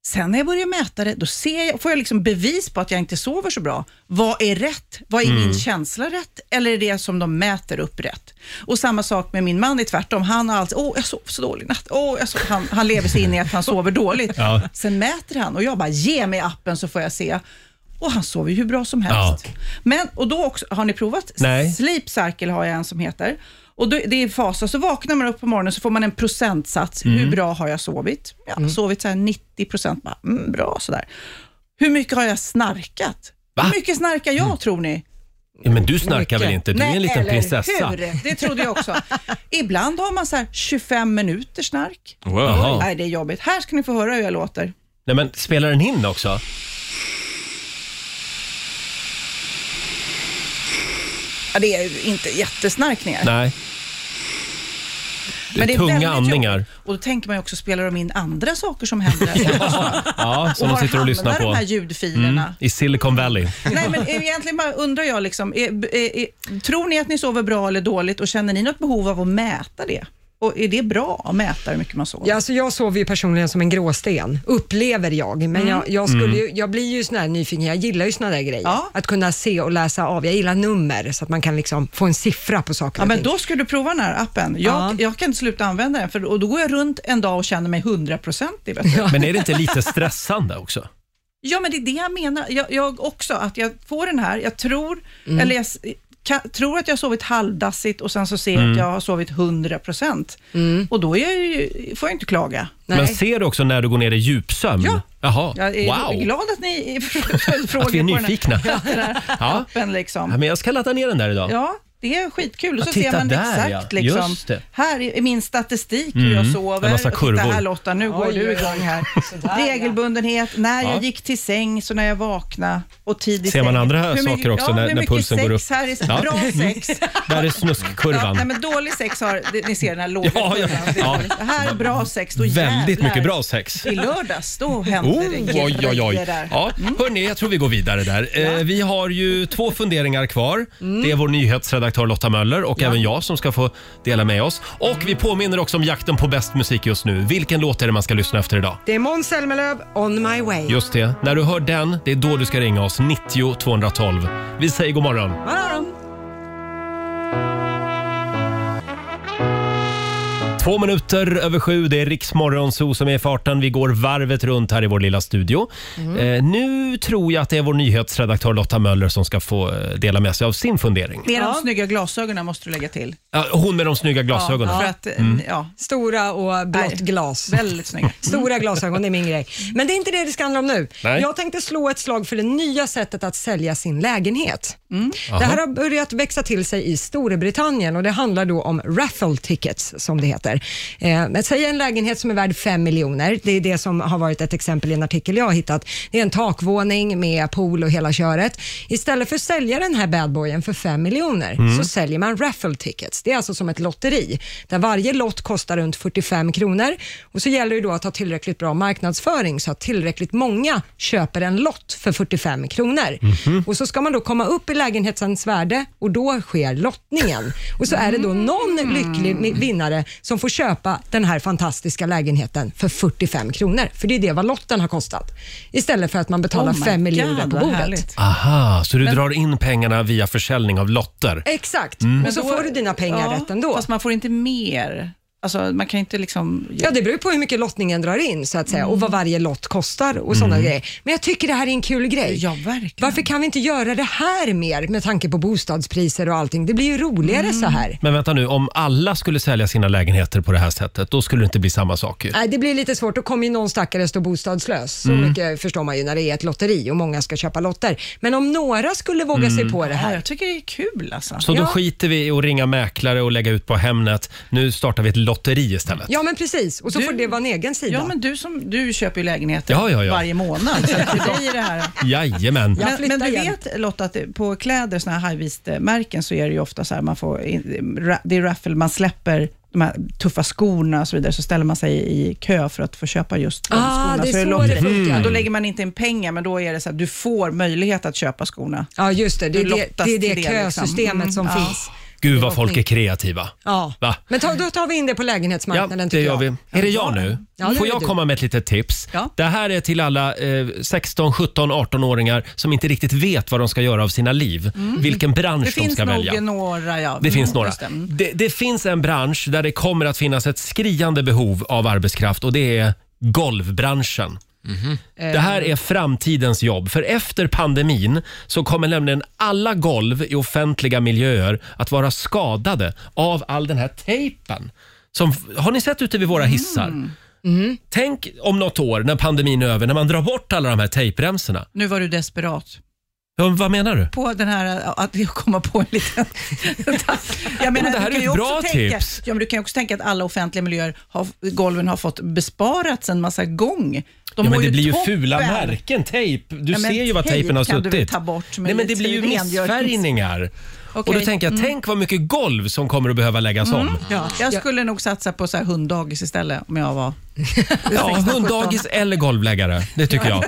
Speaker 9: Sen när jag börjar mäta det, då ser jag, får jag liksom bevis på att jag inte sover så bra. Vad är rätt? Vad är
Speaker 1: Mm.
Speaker 9: min känsla rätt? Eller är det som de mäter upp rätt? Och samma sak med min man är tvärtom. Han har alltid, åh jag sov så dålig natt. Åh, jag sov. Han, han lever sig in i att han sover dåligt.
Speaker 1: Ja.
Speaker 9: Sen mäter han och jag bara, ge mig appen så får jag se. Och han sover ju hur bra som helst.
Speaker 1: Ja.
Speaker 9: Men, och då också, har ni provat?
Speaker 1: Nej.
Speaker 9: Sleep Cycle har jag en som heter. Och då, det är fasa, så vaknar man upp på morgonen så får man en procentsats.
Speaker 1: Mm.
Speaker 9: Hur bra har jag sovit? Ja, Sovit så här 90 procent, bara, mm, bra sådär. Hur mycket har jag snarkat?
Speaker 1: Va? Mm.
Speaker 9: Hur mycket snarkar jag tror ni?
Speaker 1: Ja, Men du snarkar väl inte? Du är en liten
Speaker 9: eller
Speaker 1: prinsessa.
Speaker 9: Hur? Det trodde jag också. Ibland har man så här 25 minuter snark.
Speaker 6: Wow.
Speaker 1: Jaha.
Speaker 9: Nej, det är jobbigt. Här ska ni få höra hur jag låter.
Speaker 1: Nej men spelar den in också?
Speaker 9: Ja, det är ju inte jättesnarkningar.
Speaker 1: Nej. Det är,
Speaker 9: Men det är
Speaker 1: tunga
Speaker 9: väldigt jobbigt.
Speaker 1: andningar.
Speaker 9: Och då tänker man ju också, spelar de in andra saker som händer?
Speaker 1: Ja, som de sitter och lyssnar
Speaker 9: Var
Speaker 1: på. Mm,
Speaker 9: hamnar de här ljudfilerna?
Speaker 1: I Silicon Valley.
Speaker 9: Nej, men egentligen bara undrar jag, liksom, är, är, är, tror ni att ni sover bra eller dåligt och känner ni något behov av att mäta det? Och är det bra att mäta hur mycket man sover?
Speaker 3: Ja, alltså jag sover ju personligen som en gråsten, upplever jag. Men
Speaker 9: Mm.
Speaker 3: jag, jag, skulle ju, jag blir ju sån här nyfiken, jag gillar ju såna där grejer.
Speaker 9: Ja.
Speaker 3: Att kunna se och läsa av, jag gillar nummer så att man kan liksom få en siffra på saker
Speaker 9: Ja,
Speaker 3: och
Speaker 9: men
Speaker 3: ting.
Speaker 9: då ska du prova den här appen. Jag,
Speaker 3: Ja.
Speaker 9: jag kan inte sluta använda den, för, och då går jag runt en dag och känner mig hundraprocentig. vet du.
Speaker 1: Men är det inte lite stressande också?
Speaker 9: Ja, men det är det jag menar. Jag, jag också, att jag får den här, jag tror, eller jag s- kan, tror att jag har sovit halvdassigt och sen så ser jag
Speaker 1: Mm.
Speaker 9: att jag har sovit 100%.
Speaker 3: Mm.
Speaker 9: Och då är jag ju, får jag inte klaga.
Speaker 3: Nej.
Speaker 1: Men ser du också när du går ner i djupsömn?
Speaker 9: Ja.
Speaker 1: Mm. Jaha,
Speaker 9: Jag är
Speaker 1: wow.
Speaker 9: glad att ni frågar
Speaker 1: Att vi är
Speaker 9: på
Speaker 1: nyfikna.
Speaker 9: den här, den här
Speaker 1: Ja.
Speaker 9: appen.
Speaker 1: Ja,
Speaker 9: Liksom.
Speaker 1: men jag ska ladda ner den där idag.
Speaker 9: Ja, det är skitkul. Och
Speaker 1: Ja,
Speaker 9: så
Speaker 1: titta
Speaker 9: ser man
Speaker 1: där,
Speaker 9: exakt.
Speaker 1: ja.
Speaker 9: Liksom,
Speaker 1: Just det. Mm.
Speaker 9: här är min statistik hur jag sover.
Speaker 1: En massa
Speaker 9: Och
Speaker 1: kurvor.
Speaker 9: Titta här Lotta, nu går
Speaker 3: Oj,
Speaker 9: du
Speaker 3: oj,
Speaker 9: igång här. Regelbundenhet, när
Speaker 1: Ja.
Speaker 9: jag gick till säng, så när jag vaknade och tid i
Speaker 1: Ser man
Speaker 9: säng.
Speaker 1: andra
Speaker 9: Hur mycket-
Speaker 1: saker också
Speaker 9: ja,
Speaker 1: när-
Speaker 9: hur
Speaker 1: när
Speaker 9: mycket
Speaker 1: pulsen går
Speaker 9: sex
Speaker 1: upp?
Speaker 9: Här är,
Speaker 1: Ja.
Speaker 9: Bra sex.
Speaker 1: Där är
Speaker 9: Ja,
Speaker 1: snuskkurvan.
Speaker 9: nej, men dålig sex har, det- ni ser den här låga
Speaker 1: Ja, ja,
Speaker 9: kurvan. Det är
Speaker 1: ja.
Speaker 9: dåligt. Här är bra sex, då
Speaker 1: Väldigt
Speaker 9: jävlar.
Speaker 1: mycket bra sex.
Speaker 9: I lördags, då hände
Speaker 1: Oh,
Speaker 9: det
Speaker 1: oj, oj, oj.
Speaker 9: grejer där. Mm.
Speaker 1: Ja, hörni, jag tror vi går vidare där. Eh, vi har ju två funderingar kvar.
Speaker 9: Mm.
Speaker 1: Det är vår nyhetsredaktör Lotta Möller och även jag som ska få dela med oss. Och vi påminner också om jakten på bäst musik just nu. Vilken låt är det man ska lyssna efter idag?
Speaker 3: Det är Måns Zelmerlöw, On My Way.
Speaker 1: Just det, när du hör den, det är då du ska ringa oss. 90 212. Vi säger god morgon.
Speaker 3: Vad har de?
Speaker 1: Två minuter över sju, det är Riksmorgonzoo som är i farten. Vi går varvet runt här i vår lilla studio. Eh, nu tror jag att det är vår nyhetsredaktör Lotta Möller som ska få eh, dela med sig av sin fundering.
Speaker 9: Det är de snygga glasögonen måste du lägga till.
Speaker 1: Ja, hon med de snygga glasögonen.
Speaker 9: För att, eh, ja,
Speaker 3: Stora och blått glas.
Speaker 9: väldigt snygga.
Speaker 3: Stora glasögon, det är min grej. Men det är inte det det ska handla om nu.
Speaker 1: Nej.
Speaker 3: Jag tänkte slå ett slag för det nya sättet att sälja sin lägenhet. Det här har börjat växa till sig i Storbritannien och det handlar då om raffle tickets som det heter. Eh, men säg en lägenhet som är värd 5 miljoner. Det är det som har varit ett exempel i en artikel jag har hittat. Det är en takvåning med pool och hela köret. Istället för att sälja den här badboyen för 5 miljoner så säljer man raffle tickets. Det är alltså som ett lotteri där varje lott kostar runt 45 kronor och så gäller det då att ha tillräckligt bra marknadsföring så att tillräckligt många köper en lott för 45 kronor. Och så ska man då komma upp i lägenhetens värde och då sker lottningen. Och så är det
Speaker 9: Mm.
Speaker 3: då någon lycklig mi- vinnare som får köpa den här fantastiska lägenheten för 45 kronor. För det är det vad lotten har kostat. Istället för att man betalar
Speaker 9: Oh my
Speaker 3: 5 miljoner
Speaker 9: God,
Speaker 3: på
Speaker 9: vad
Speaker 3: bordet.
Speaker 9: härligt.
Speaker 1: Aha, så du drar in pengarna via försäljning av lotter?
Speaker 3: Exakt, men så
Speaker 9: Då-
Speaker 3: får du dina pengar
Speaker 9: ja,
Speaker 3: rätt ändå.
Speaker 9: Fast man får inte mer. Alltså, man kan inte liksom...
Speaker 3: Ja, det beror på hur mycket lottningen drar in så att säga och
Speaker 9: Mm.
Speaker 3: vad varje lott kostar och sådana grejer. Men jag tycker det här är en kul grej.
Speaker 9: Ja, verkligen.
Speaker 3: Varför kan vi inte göra det här mer med tanke på bostadspriser och allting? Det blir ju roligare så
Speaker 9: Mm.
Speaker 3: här.
Speaker 1: Men vänta nu, om alla skulle sälja sina lägenheter på det här sättet, då skulle det inte bli samma sak ju.
Speaker 3: Nej, det blir lite svårt. Då kommer ju någon stackare stå bostadslös. Så
Speaker 9: Mm.
Speaker 3: mycket förstår man ju när det är ett lotteri och många ska köpa lotter. Men om några skulle våga sig på det
Speaker 9: Mm. Ja,
Speaker 3: här.
Speaker 9: jag tycker det är kul alltså.
Speaker 1: Så då
Speaker 3: Ja.
Speaker 1: skiter vi i att ringa mäklare och lägga ut på Hemnet. Nu startar vi ett lotteri istället.
Speaker 3: Ja, men precis. Och så
Speaker 9: Du-
Speaker 3: får det vara en egen sida.
Speaker 9: Ja, men du, som, du köper ju lägenheter
Speaker 1: Ja, ja, ja.
Speaker 9: varje månad. Så att för dig är det här...
Speaker 1: Jajamän.
Speaker 3: Jag
Speaker 9: Men,
Speaker 3: flyttar
Speaker 9: men du
Speaker 3: igen.
Speaker 9: vet Lotta att det- på kläder, såna här high-waist-märken, så är det ju ofta så här, man får in, ra- det är raffle, man släpper de här tuffa skorna och så vidare, så ställer man sig i kö för att få köpa just de
Speaker 3: Ah,
Speaker 9: skorna.
Speaker 3: det är så
Speaker 9: lotteri.
Speaker 3: det funkar.
Speaker 9: Då lägger man inte in pengar, men då är det så att du får möjlighet att köpa skorna.
Speaker 3: Ja, just det. Det är
Speaker 9: Du
Speaker 3: det,
Speaker 9: lottas
Speaker 3: det, är det
Speaker 9: till det, liksom.
Speaker 3: kösystemet
Speaker 9: Mm.
Speaker 3: som
Speaker 9: Ja.
Speaker 3: finns.
Speaker 1: Gud vad folk är kreativa.
Speaker 3: Ja,
Speaker 1: Va?
Speaker 3: men ta, då tar vi in det på
Speaker 1: Ja,
Speaker 3: lägenhetsmarknaden
Speaker 1: det
Speaker 3: tycker
Speaker 1: gör
Speaker 3: jag.
Speaker 1: vi. Är det jag nu?
Speaker 3: Ja, det
Speaker 1: Får
Speaker 3: är
Speaker 1: jag
Speaker 3: du.
Speaker 1: komma med ett litet tips?
Speaker 9: Ja.
Speaker 1: Det här är till alla eh, 16, 17, 18-åringar som inte riktigt vet vad de ska göra av sina liv.
Speaker 3: Mm.
Speaker 1: Vilken bransch
Speaker 9: Det
Speaker 1: de
Speaker 9: finns
Speaker 1: ska
Speaker 9: nog
Speaker 1: välja.
Speaker 9: några. Ja.
Speaker 1: Det finns några.
Speaker 9: Just det. Mm.
Speaker 1: Det, det finns en bransch där det kommer att finnas ett skriande behov av arbetskraft och det är golvbranschen. Det här
Speaker 9: Ehm.
Speaker 1: är framtidens jobb. För efter pandemin så kommer nämligen alla golv i offentliga miljöer att vara skadade av all den här tejpen. Som, har ni sett ute vid
Speaker 9: Mm.
Speaker 1: våra hissar? Tänk om något år när pandemin är över, när man drar bort alla de här tejpremsorna.
Speaker 9: Nu var du desperat.
Speaker 1: Ja, vad menar du?
Speaker 9: på den här, att jag kommer på en liten... jag
Speaker 1: Men det här
Speaker 9: du kan
Speaker 1: är
Speaker 9: ju
Speaker 1: ett
Speaker 9: också
Speaker 1: bra
Speaker 9: tänka,
Speaker 1: tips.
Speaker 9: Ja, men du kan ju också tänka att alla offentliga miljöer, har, golven har fått besparats en massa gång. De
Speaker 1: Ja,
Speaker 9: har
Speaker 1: men det blir ju
Speaker 9: toppen.
Speaker 1: fula märken, tejp. Du
Speaker 9: Ja, men
Speaker 1: ser ju vad
Speaker 9: tejp
Speaker 1: tejpen har
Speaker 9: kan du
Speaker 1: suttit.
Speaker 9: väl ta bort med
Speaker 1: Nej, men det
Speaker 9: lite
Speaker 1: blir ju
Speaker 9: rengörings-
Speaker 1: missfärgningar. Och då
Speaker 9: Okej, mm.
Speaker 1: tänker jag, tänk vad mycket golv som kommer att behöva läggas om.
Speaker 9: Ja, jag skulle nog satsa på så här hunddagis istället om jag var...
Speaker 1: Ja, hunddagis eller golvläggare. Det tycker jag.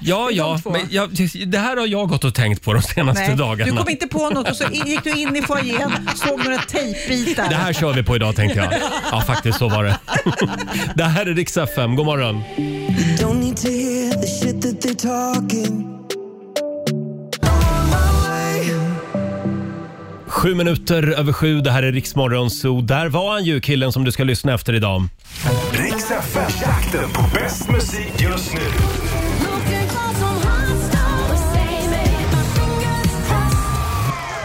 Speaker 1: Ja, ja.
Speaker 3: två.
Speaker 1: Men jag, det här har jag gått och tänkt på de senaste
Speaker 9: Nej,
Speaker 1: dagarna.
Speaker 9: du kom inte på något och så gick du in i foajén, såg några tejpbitar.
Speaker 1: Det här kör vi på idag tänkte jag. Ja, faktiskt så var det. Det här är Rix FM. God morgon.
Speaker 8: Don't need to hear the shit that they're talking. On my way.
Speaker 1: Sju minuter över sju. Det här är Rix Morgon Zoo. Där var han ju, killen som du ska lyssna efter idag.
Speaker 2: Riks FM-jakten på bäst musik just nu.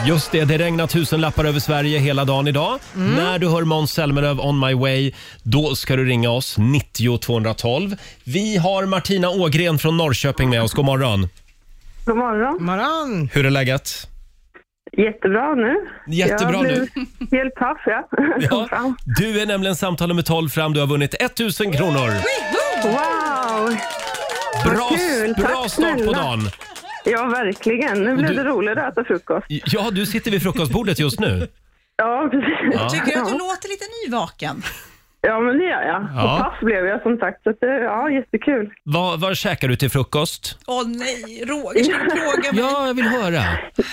Speaker 1: Just det, det regnar tusenlappar över Sverige hela dagen idag. När du hör Måns Zelmerlöw On My Way, då ska du ringa oss 90 212. Vi har Martina Ågren från Norrköping med oss. God morgon.
Speaker 7: God morgon.
Speaker 3: Morgon.
Speaker 1: Hur är läget?
Speaker 7: Jättebra nu.
Speaker 1: Jättebra
Speaker 7: jag
Speaker 1: nu.
Speaker 7: blev Helt paff, ja.
Speaker 1: Ja, du är nämligen samtal nummer 12 fram. Du har vunnit 1000 kronor.
Speaker 7: Wow!
Speaker 1: Bra,
Speaker 7: kul.
Speaker 1: bra
Speaker 7: Tack
Speaker 1: start på
Speaker 7: snälla.
Speaker 1: dagen.
Speaker 7: Ja, verkligen. Nu blev
Speaker 1: Du-
Speaker 7: det roligare att äta frukost.
Speaker 1: Ja, du sitter vid frukostbordet just nu.
Speaker 7: Ja, precis. Ja,
Speaker 9: Tycker du att du låter lite nyvaken?
Speaker 7: men det gör jag.
Speaker 1: Ja.
Speaker 7: Och paff blev jag som sagt. Så att det, ja, jättekul.
Speaker 1: Vad, vad käkar du till frukost?
Speaker 9: Åh nej, Roger ska du plåga mig.
Speaker 1: Ja, jag vill höra.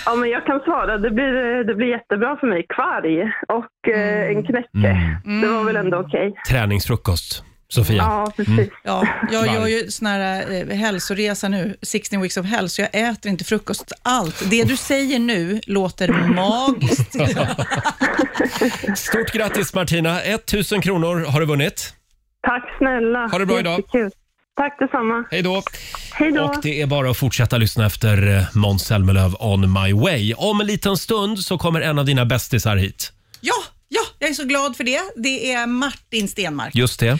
Speaker 7: Ja, men jag kan svara. Det blir, det blir jättebra för mig. Kvarg och eh,
Speaker 1: Mm.
Speaker 7: en knäcke. Det var väl ändå okej.
Speaker 1: Träningsfrukost, Sofia.
Speaker 7: Ja, precis.
Speaker 1: Mm.
Speaker 9: Ja, jag
Speaker 1: Varg.
Speaker 9: gör ju sån här eh, hälsoresa nu, 16 weeks of health, så jag äter inte frukost allt. Det du säger nu låter magiskt.
Speaker 1: Stort grattis Martina! 1000 kronor har du vunnit.
Speaker 7: Tack snälla.
Speaker 1: Ha det bra idag.
Speaker 7: Jättekul. Tack detsamma.
Speaker 1: Hej då!
Speaker 7: Hej då.
Speaker 1: Och det är bara att fortsätta lyssna efter eh, Måns Zelmerlöw On My Way. Om en liten stund så kommer en av dina bästisar hit.
Speaker 9: Ja, ja, jag är så glad för det. Det är Martin Stenmark.
Speaker 1: Just det.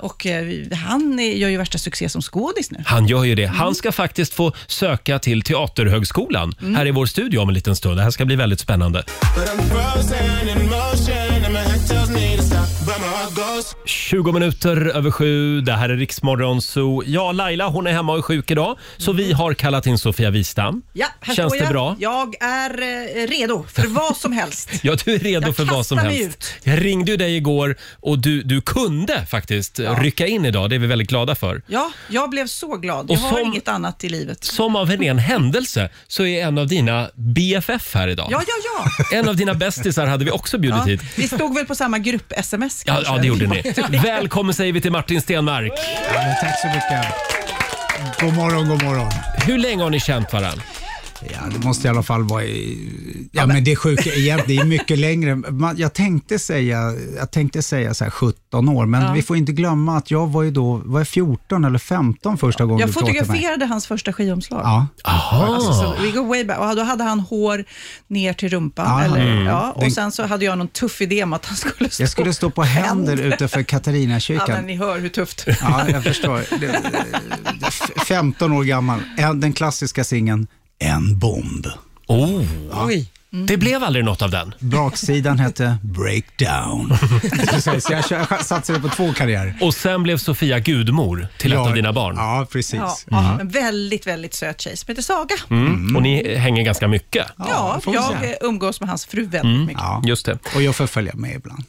Speaker 9: Och eh, vi- han är- gör ju värsta succé som skådis nu. Mm.
Speaker 1: Han gör ju det. Han ska faktiskt få söka till Teaterhögskolan här i vår studio om en liten stund. Det här ska bli väldigt spännande. 20 minuter över sju. Det här är Riksmorgon Zoo. Ja, Laila hon är hemma och är sjuk idag, så vi har kallat in Sofia Wistam.
Speaker 9: Mm. Ja, här
Speaker 1: Känns
Speaker 9: står
Speaker 1: det
Speaker 9: jag.
Speaker 1: bra?
Speaker 9: Jag är eh, redo för vad som helst.
Speaker 1: Ja, du är redo
Speaker 9: Jag
Speaker 1: för vad som
Speaker 9: kastar mig
Speaker 1: helst.
Speaker 9: ut.
Speaker 1: Jag ringde ju dig igår och du, du kunde faktiskt rycka in idag. Det är vi väldigt glada för.
Speaker 9: Ja, jag blev så glad.
Speaker 1: Och
Speaker 9: Jag har
Speaker 1: som-
Speaker 9: inget annat i livet.
Speaker 1: Som av en ren händelse så är en av dina BFF här idag.
Speaker 9: Ja, ja, ja.
Speaker 1: En av dina bästisar hade vi också bjudit
Speaker 9: ja.
Speaker 1: hit.
Speaker 9: Vi stod väl på samma grupp-sms
Speaker 1: Ja,
Speaker 9: kanske?
Speaker 1: ja, det gjorde ni. Välkommen säger vi till Martin Stenmark.
Speaker 10: tack så mycket. God morgon, god morgon.
Speaker 1: Hur länge har ni känt varandra?
Speaker 10: Ja, det måste i alla fall vara i... Ja, men det är sjukt. egentligen, Det är mycket längre. Man, jag, tänkte säga, jag tänkte säga så här 17 år, men vi får inte glömma att jag var ju då var jag 14 eller 15 första gången
Speaker 9: Jag
Speaker 10: du pratade med mig.
Speaker 9: fotograferade hans första skivomslag.
Speaker 10: Ja,
Speaker 9: Alltså, så vi går way back. Och då hade han hår ner till rumpan.
Speaker 10: Ja.
Speaker 9: eller,
Speaker 10: Mm.
Speaker 9: ja. Och
Speaker 10: Den-
Speaker 9: sen så hade jag någon tuff idé om att han skulle stå
Speaker 10: jag skulle stå på händer utanför
Speaker 9: Ja, men
Speaker 10: Katarinakyrkan.
Speaker 9: ni hör hur tufft.
Speaker 10: Ja, jag förstår. Det- f- 15 år gammal. En- Den klassiska singeln En bomb.
Speaker 1: Oh. Det blev aldrig något av den.
Speaker 10: Baksidan hette Breakdown. Precis, jag kör- jag satsade på två karriärer.
Speaker 1: Och sen blev Sofia gudmor till ett av dina barn.
Speaker 10: Ja, precis.
Speaker 9: Ja, En väldigt, väldigt söt tjej som heter Saga.
Speaker 1: Mm. Och ni hänger ganska mycket. Mm.
Speaker 9: Ja,
Speaker 10: får vi
Speaker 9: jag
Speaker 10: säga.
Speaker 9: eh, umgås med hans fru väldigt mycket.
Speaker 10: Ja.
Speaker 1: Just det.
Speaker 10: Och jag får följa med ibland.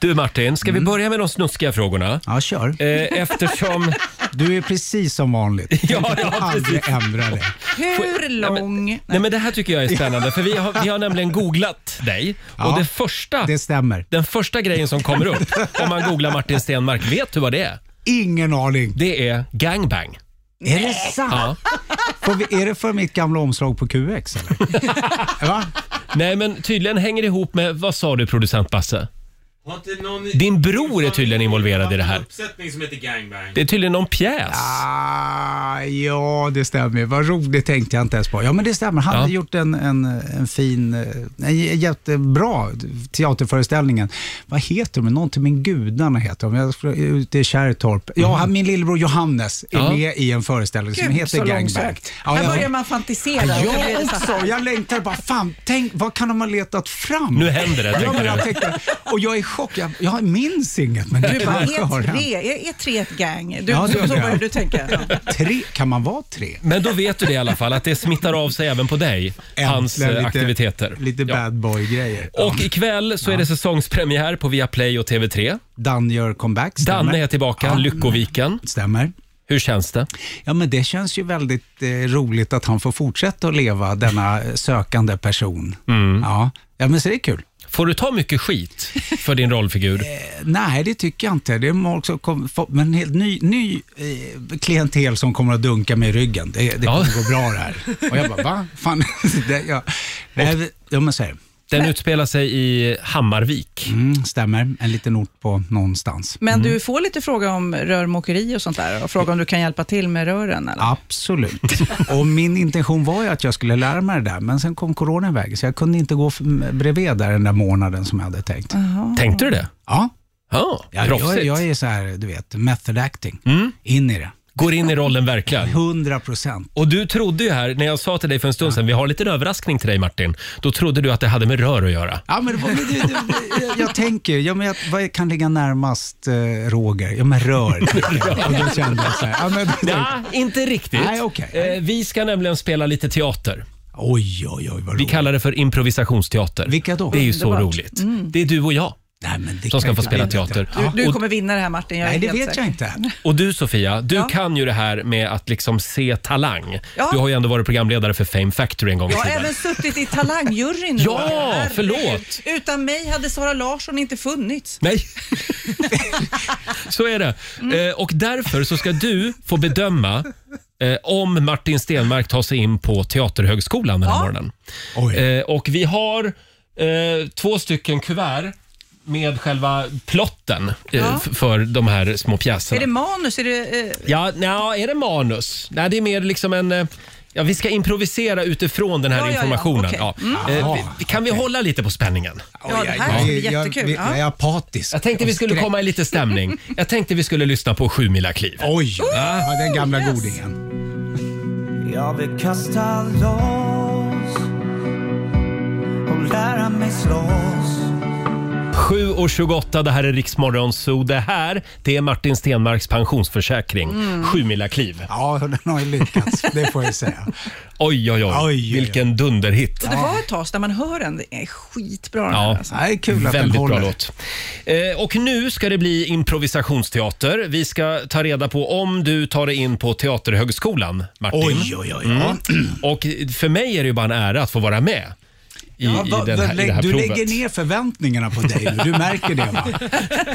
Speaker 1: Du Martin, ska
Speaker 10: Mm.
Speaker 1: vi börja med de snuskiga frågorna?
Speaker 10: Ja, kör.
Speaker 1: Eh, eftersom...
Speaker 10: Du är precis som vanligt. Tänk
Speaker 1: Ja,
Speaker 10: att du
Speaker 1: ja,
Speaker 10: aldrig ändrar dig.
Speaker 9: Hur lång...
Speaker 1: Nej men det här tycker jag är spännande för vi har, vi har nämligen googlat dig och
Speaker 10: Ja,
Speaker 1: det första,
Speaker 10: Det stämmer.
Speaker 1: den första grejen som kommer upp om man googlar Martin Stenmark, vet du vad det är?
Speaker 10: Ingen aning.
Speaker 1: Det är gangbang.
Speaker 10: Är det sant?
Speaker 1: Ja.
Speaker 10: Får vi, är det för mitt gamla omslag på QX eller? Va?
Speaker 1: Nej men tydligen hänger det ihop med, vad sa du producent Basse?
Speaker 6: Har inte någon i-
Speaker 1: Din bror är tydligen involverad i det här.
Speaker 6: En uppsättning som heter Gangbang.
Speaker 1: Det är tydligen någon pjäs.
Speaker 10: Ah, ja, det stämmer. Vad roligt tänkte jag inte ens på. Ja, men det stämmer. Han
Speaker 1: Ja.
Speaker 10: hade gjort en, en, en fin, eh, en j- jättebra teaterföreställningen. Vad heter de? Någonting med gudarna heter de. Jag skulle ute i Kärrtorp. Ja, han- min lillebror Johannes är
Speaker 1: Mm. Ja.
Speaker 10: med i en föreställning som
Speaker 9: Gud,
Speaker 10: heter
Speaker 9: så
Speaker 10: Gangbang.
Speaker 9: långsökt.
Speaker 10: Ja,
Speaker 9: Här
Speaker 10: jag-
Speaker 9: börjar man fantisera.
Speaker 10: Ja,
Speaker 9: Och så blir
Speaker 10: Jag
Speaker 9: det så här.
Speaker 10: också. Jag längtar bara, fan, tänk, vad kan de ha letat fram?
Speaker 1: Nu händer det,
Speaker 10: ja,
Speaker 1: tänkte
Speaker 10: men jag
Speaker 1: du.
Speaker 10: tänkte, Och jag är i chock. Jag, jag minns inget, men det
Speaker 9: Du bara,
Speaker 10: kanske har
Speaker 9: är
Speaker 10: hänt.
Speaker 9: tre, är, är tre ett gang? Du,
Speaker 10: Ja,
Speaker 9: så,
Speaker 10: det är
Speaker 9: så
Speaker 10: det.
Speaker 9: börjar du tänka. Ja.
Speaker 10: Tre? Kan man vara tre?
Speaker 1: Men då vet du det i alla fall, att det smittar av sig även på dig, hans
Speaker 10: Äntligen
Speaker 1: eh,
Speaker 10: lite-
Speaker 1: aktiviteter.
Speaker 10: Lite
Speaker 1: Ja.
Speaker 10: bad boy-grejer.
Speaker 1: Och ikväll så är det säsongspremiär på Viaplay och TV3.
Speaker 10: Dan gör comeback, stämmer.
Speaker 1: Danne är tillbaka, Lyckoviken.
Speaker 10: Stämmer.
Speaker 1: Hur känns det?
Speaker 10: Ja, men det känns ju väldigt eh, roligt att han får fortsätta att leva, denna eh, sökande person.
Speaker 1: Mm.
Speaker 10: Ja. ja, men så det är kul.
Speaker 1: Får du ta mycket skit för din rollfigur?
Speaker 10: Eh, Nej, det tycker jag inte. Det är folk som kom, få- men en helt ny, ny eh, klientel som kommer att dunka mig i ryggen. Det, det
Speaker 1: Ja.
Speaker 10: kommer gå bra det här. Och jag bara, va? Fan. det, ja. Nej, ja, men så är det.
Speaker 1: Den utspelar sig i Hammarvik.
Speaker 10: Mm, stämmer. En liten ort på någonstans.
Speaker 9: Men
Speaker 1: Mm.
Speaker 9: du får lite fråga om rörmokeri och sånt där och fråga om du kan hjälpa till med rören. Eller?
Speaker 10: Absolut. Och min intention var ju att jag skulle lära mig det där, men sen kom corona iväg, så jag kunde inte gå f- bredvid där den där månaden som jag hade tänkt.
Speaker 1: Tänkte du det?
Speaker 10: Ja,
Speaker 1: Ja,
Speaker 10: jag, jag,
Speaker 1: Mm. proffsigt. Mm.
Speaker 10: jag är så här, du vet, method acting. In i det.
Speaker 1: Går in i rollen verkligen.
Speaker 10: 100 procent.
Speaker 1: Och du trodde ju här, när jag sa till dig för en stund sedan, vi har en liten överraskning till dig Martin. Då trodde du att det hade med rör att göra.
Speaker 10: Ja, men det var, men det, det, jag, jag tänker, ja, men jag, vad kan ligga närmast eh, Roger? Ja, men rör. Och då kände jag så här, ja, men,
Speaker 1: Ja, inte riktigt.
Speaker 10: Nej, okej.
Speaker 1: eh, vi ska nämligen spela lite teater.
Speaker 10: Oj, oj, oj, vad
Speaker 1: Vi
Speaker 10: roligt.
Speaker 1: kallar det för improvisationsteater.
Speaker 10: Vilka då?
Speaker 1: Det är ju så roligt. Det är du och jag
Speaker 10: Nej, men det
Speaker 1: som
Speaker 10: kan
Speaker 1: ska få
Speaker 10: jag
Speaker 1: spela
Speaker 10: inte.
Speaker 1: teater.
Speaker 10: Ja.
Speaker 9: Du
Speaker 1: Och-
Speaker 9: kommer vinna det här Martin, jag är
Speaker 10: Nej, det
Speaker 9: helt
Speaker 10: vet
Speaker 9: säker.
Speaker 10: jag inte.
Speaker 1: Och du Sofia, du
Speaker 9: Ja.
Speaker 1: kan ju det här med att liksom se talang.
Speaker 9: Ja.
Speaker 1: Du har ju ändå varit programledare för Fame Factory en gång i
Speaker 9: Jag har
Speaker 1: tiden.
Speaker 9: även suttit i talangjuryn.
Speaker 1: Ja,
Speaker 9: Roger.
Speaker 1: förlåt.
Speaker 9: Utan mig hade Sara Larsson inte funnits.
Speaker 1: Nej, så är det.
Speaker 9: Mm.
Speaker 1: Eh, och därför så ska du få bedöma eh, om Martin Stenmark tar sig in på Teaterhögskolan den här
Speaker 9: Ja.
Speaker 1: morgonen.
Speaker 10: Oj.
Speaker 1: Eh, och vi har eh, två stycken kuvert med själva plotten eh,
Speaker 9: Ja.
Speaker 1: f- för de här små pjäserna.
Speaker 9: Är det manus? Är det, eh,
Speaker 1: Ja, nja, är det manus? Nej, det är mer liksom en... eh, Ja, vi ska improvisera utifrån den här
Speaker 9: Ja, ja, ja,
Speaker 1: informationen.
Speaker 9: okej.
Speaker 1: Ja,
Speaker 9: Mm.
Speaker 1: Eh, vi, kan vi hålla lite på spänningen?
Speaker 9: Ja, det här ska bli
Speaker 10: Jag- jag-
Speaker 9: jättekul.
Speaker 10: vi-
Speaker 9: Ja.
Speaker 10: Jag är apatisk.
Speaker 1: Jag tänkte vi skulle komma i lite stämning. Jag tänkte vi skulle lyssna på Sju mila kliv.
Speaker 10: Oj!
Speaker 1: Ja.
Speaker 10: Ja, den gamla godingen.
Speaker 8: Jag vill kasta loss och lära mig slåss
Speaker 1: 7.28, det här är Riksmorgon Zoo. Det här, det är Martin Stenmarks pensionsförsäkring.
Speaker 10: Mm.
Speaker 1: Sju mila kliv.
Speaker 10: Ja, den har ju lyckats, det får jag säga.
Speaker 1: Oj, oj, oj. Vilken dunderhit.
Speaker 9: Så det var ett tag sedan man hör den. Det är skitbra den här.
Speaker 1: Ja,
Speaker 9: Alltså.
Speaker 10: Nej, kul att den
Speaker 1: Väldigt bra
Speaker 10: håller.
Speaker 1: låt. Eh, och nu ska det bli improvisationsteater. Vi ska ta reda på om du tar dig in på Teaterhögskolan, Martin.
Speaker 10: Oj, oj, oj,
Speaker 1: Mm. Och för mig är det ju bara en ära att få vara med i, i, den här, i det här
Speaker 10: du
Speaker 1: provet.
Speaker 10: lägger ner förväntningarna på dig, du märker det va?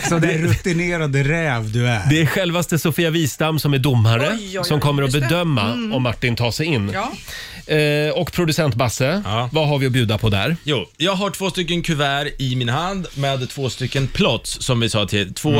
Speaker 10: Så den rutinerade räv du är.
Speaker 1: Det är självaste Sofia Wistam som är domare
Speaker 9: Oj, oj,
Speaker 1: som
Speaker 9: oj,
Speaker 1: kommer att
Speaker 9: just det.
Speaker 1: bedöma
Speaker 9: Mm.
Speaker 1: om Martin tar sig in.
Speaker 9: Ja.
Speaker 1: Eh, och producent Basse, vad har vi att bjuda på där?
Speaker 6: Jo, jag har två stycken kuvert i min hand med två stycken plots, som vi sa till, två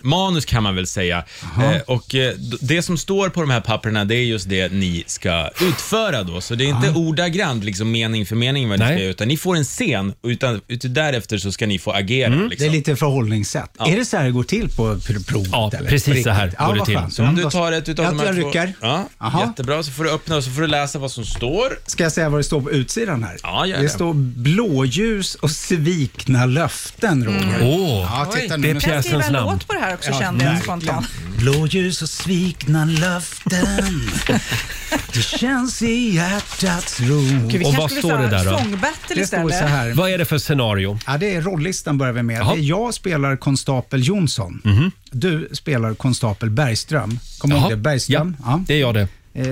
Speaker 6: manus kan man väl säga. Eh, och eh, d- det som står på de här papperna, det är just det ni ska utföra då. Så det är inte ordagrant liksom mening för mening vad ni ska göra, utan ni får en scen och utan, ut, därefter så ska ni få agera.
Speaker 10: Det
Speaker 6: Liksom.
Speaker 10: är lite förhållningssätt.
Speaker 6: Ja.
Speaker 10: Är det så här det går till på pr- provet?
Speaker 1: Ja,
Speaker 10: eller?
Speaker 1: precis
Speaker 10: På riktigt?
Speaker 1: så här
Speaker 10: ja,
Speaker 1: går det
Speaker 10: vad
Speaker 1: till.
Speaker 10: skönt. Mm.
Speaker 6: Så om du tar ett utav
Speaker 10: jag,
Speaker 6: de här
Speaker 10: jag
Speaker 6: två...
Speaker 10: rycker.
Speaker 6: Ja,
Speaker 10: Aha.
Speaker 6: jättebra, så får du öppna och så får du läsa vad som står.
Speaker 10: Ska jag säga vad det står på utsidan här?
Speaker 6: Ja, gör
Speaker 10: det
Speaker 6: det.
Speaker 10: står blåljus och svikna löften, Roger.
Speaker 1: Mm. Åh, det är
Speaker 10: nu.
Speaker 9: Jag skriver
Speaker 1: pjäsens
Speaker 9: en
Speaker 1: namn.
Speaker 9: låt på det här också
Speaker 10: Ja,
Speaker 9: kände jag
Speaker 10: verkligen.
Speaker 9: spontant.
Speaker 10: Blåljus och svikna löften. Det känns i hjärtats ro.
Speaker 9: Gud, vi
Speaker 1: Och
Speaker 9: kanske
Speaker 1: vad
Speaker 9: skulle
Speaker 1: står det
Speaker 9: säga
Speaker 1: där då?
Speaker 9: Sångbattle
Speaker 10: Det står
Speaker 9: istället.
Speaker 10: så här.
Speaker 1: Vad är det för scenario?
Speaker 10: Ja, det är rollistan börjar vi med.
Speaker 1: Jaha.
Speaker 10: Det är jag spelar konstapel Jonsson.
Speaker 6: Mhm.
Speaker 10: Du spelar konstapel Bergström. Kommer du ihåg det? Bergström?
Speaker 1: Ja, Eh, det är jag det.
Speaker 10: Ja,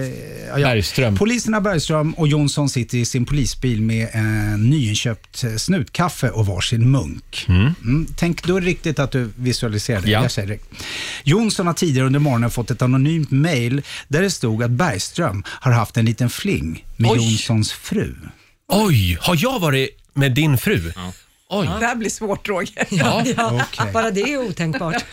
Speaker 10: ja.
Speaker 1: Bergström.
Speaker 10: Poliserna Bergström och Jonsson sitter i sin polisbil med en nyinköpt eh, snutkaffe och varsin munk. Mm. Tänk då riktigt att du visualiserar det.
Speaker 1: Ja.
Speaker 10: Jag säger det. Jonsson har tidigare under morgonen fått ett anonymt mejl där det stod att Bergström har haft en liten fling med
Speaker 1: Oj.
Speaker 10: Jonssons fru.
Speaker 1: Oj, har jag varit med din fru? Oj.
Speaker 9: Det här blir svårt Roger.
Speaker 1: Ja.
Speaker 10: Okej.
Speaker 3: Bara det är otänkbart.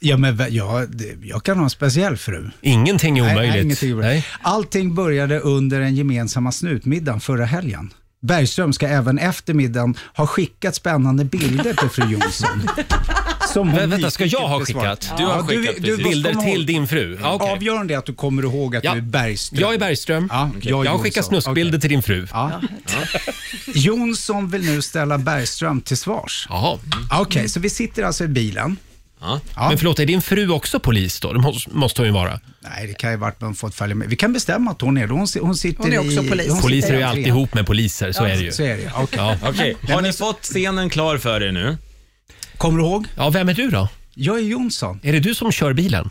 Speaker 10: Ja, men va- ja, det- jag kan ha en speciell fru.
Speaker 1: Ingenting är
Speaker 10: Nej, nej,
Speaker 1: omöjligt.
Speaker 10: ingenting är omöjligt. Allting började under den gemensamma snutmiddagen förra helgen. Bergström ska även efter middagen ha skickat spännande bilder till fru Jonsson. Som hon
Speaker 1: Vä- vänta, ska jag ha
Speaker 10: nyfiket besvarar.
Speaker 1: skickat?
Speaker 6: Du har skickat, precis.
Speaker 1: Bilder
Speaker 10: kommer
Speaker 1: till
Speaker 10: ihåg-
Speaker 1: din fru? Ja, okej.
Speaker 10: Avgörande är att du kommer ihåg att
Speaker 1: Ja.
Speaker 10: du är Bergström.
Speaker 1: Jag är Bergström.
Speaker 10: Ja,
Speaker 1: Jag,
Speaker 10: är
Speaker 1: har
Speaker 10: Jonsson.
Speaker 1: skickat snuskbilder
Speaker 10: Okej.
Speaker 1: till din fru.
Speaker 10: Ja. Jonsson vill nu ställa Bergström till svars.
Speaker 1: Jaha.
Speaker 10: Okej, så vi sitter alltså i bilen.
Speaker 6: Ja.
Speaker 1: Men förlåt, är din fru också polis då? Det må- måste hon ju vara.
Speaker 10: Nej, det kan ju varit man fått följa med. Vi kan bestämma att hon är det. Hon, si- hon sitter
Speaker 9: Hon är också
Speaker 10: i,
Speaker 9: polis.
Speaker 10: Hon
Speaker 1: Poliser är ju
Speaker 10: sitter i
Speaker 1: alltid
Speaker 10: entrén.
Speaker 1: ihop med poliser, så är det ju.
Speaker 10: Så är det, okej.
Speaker 1: Ja.
Speaker 6: Okej, har ni fått scenen klar för er nu?
Speaker 10: Kommer du ihåg?
Speaker 1: ja, vem är du då?
Speaker 10: Jag är Jonsson.
Speaker 1: Är det du som kör bilen?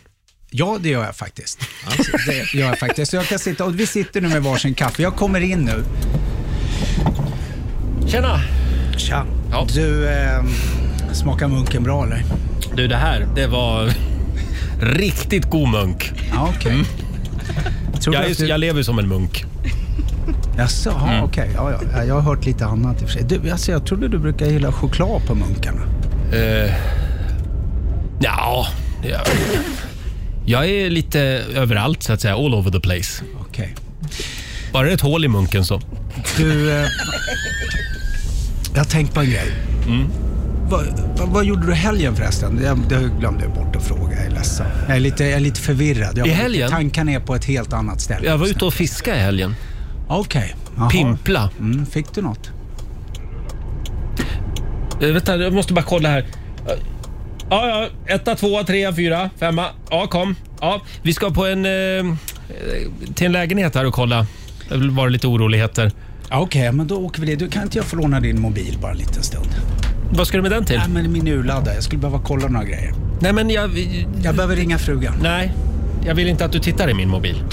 Speaker 10: Ja, det gör jag faktiskt. Det gör jag faktiskt. Så jag kan sitta, och vi sitter nu med varsin kaffe. Jag kommer in nu.
Speaker 1: Tjena!
Speaker 10: Tja.
Speaker 1: Ja.
Speaker 10: Du, eh, smakar munken bra eller?
Speaker 1: Du, det här, det var riktigt god munk.
Speaker 10: Ja, okej. Tror
Speaker 1: Mm. Jag,
Speaker 10: du
Speaker 1: är,
Speaker 10: att
Speaker 1: ju-
Speaker 10: du-
Speaker 1: jag Mm. lever ju som en munk.
Speaker 10: Jaså, ja, okej. Ja, ja, ja, jag har hört lite annat i och för sig. Du, alltså, jag trodde du brukar gilla choklad på munkarna.
Speaker 1: Uh, ja, jag, jag är lite överallt så att säga, all over the place.
Speaker 10: Okej.
Speaker 1: Bara det är ett hål i munken så.
Speaker 10: Du, eh, jag har tänkt på en grej.
Speaker 1: Mm.
Speaker 10: Vad, vad, vad gjorde du i helgen förresten? Jag, det glömde jag bort att fråga. Jag är ledsen. Jag är lite, jag är lite förvirrad. Jag,
Speaker 1: I helgen?
Speaker 10: Tankarna är på ett helt annat ställe.
Speaker 1: Jag var ute och fiskade i helgen.
Speaker 10: Okej. Jaha.
Speaker 1: Pimpla.
Speaker 10: Mm, fick du något?
Speaker 1: Eh, vänta, jag måste bara kolla här. Eh, Ja, ja. Etta, tvåa, trea, fyra, femma. Ja, kom. Ja, vi ska på en... eh, Eh, till en lägenhet här och kolla. Det har varit lite oroligheter.
Speaker 10: Ja, Okej, men då åker vi dit. Du, kan inte jag få låna din mobil bara en liten stund?
Speaker 1: Vad ska du med den till?
Speaker 10: Nej, men min urladda. Jag skulle behöva kolla några grejer.
Speaker 1: Nej, men jag...
Speaker 10: Jag behöver ringa frugan.
Speaker 1: Nej. Jag vill inte att du tittar i min mobil.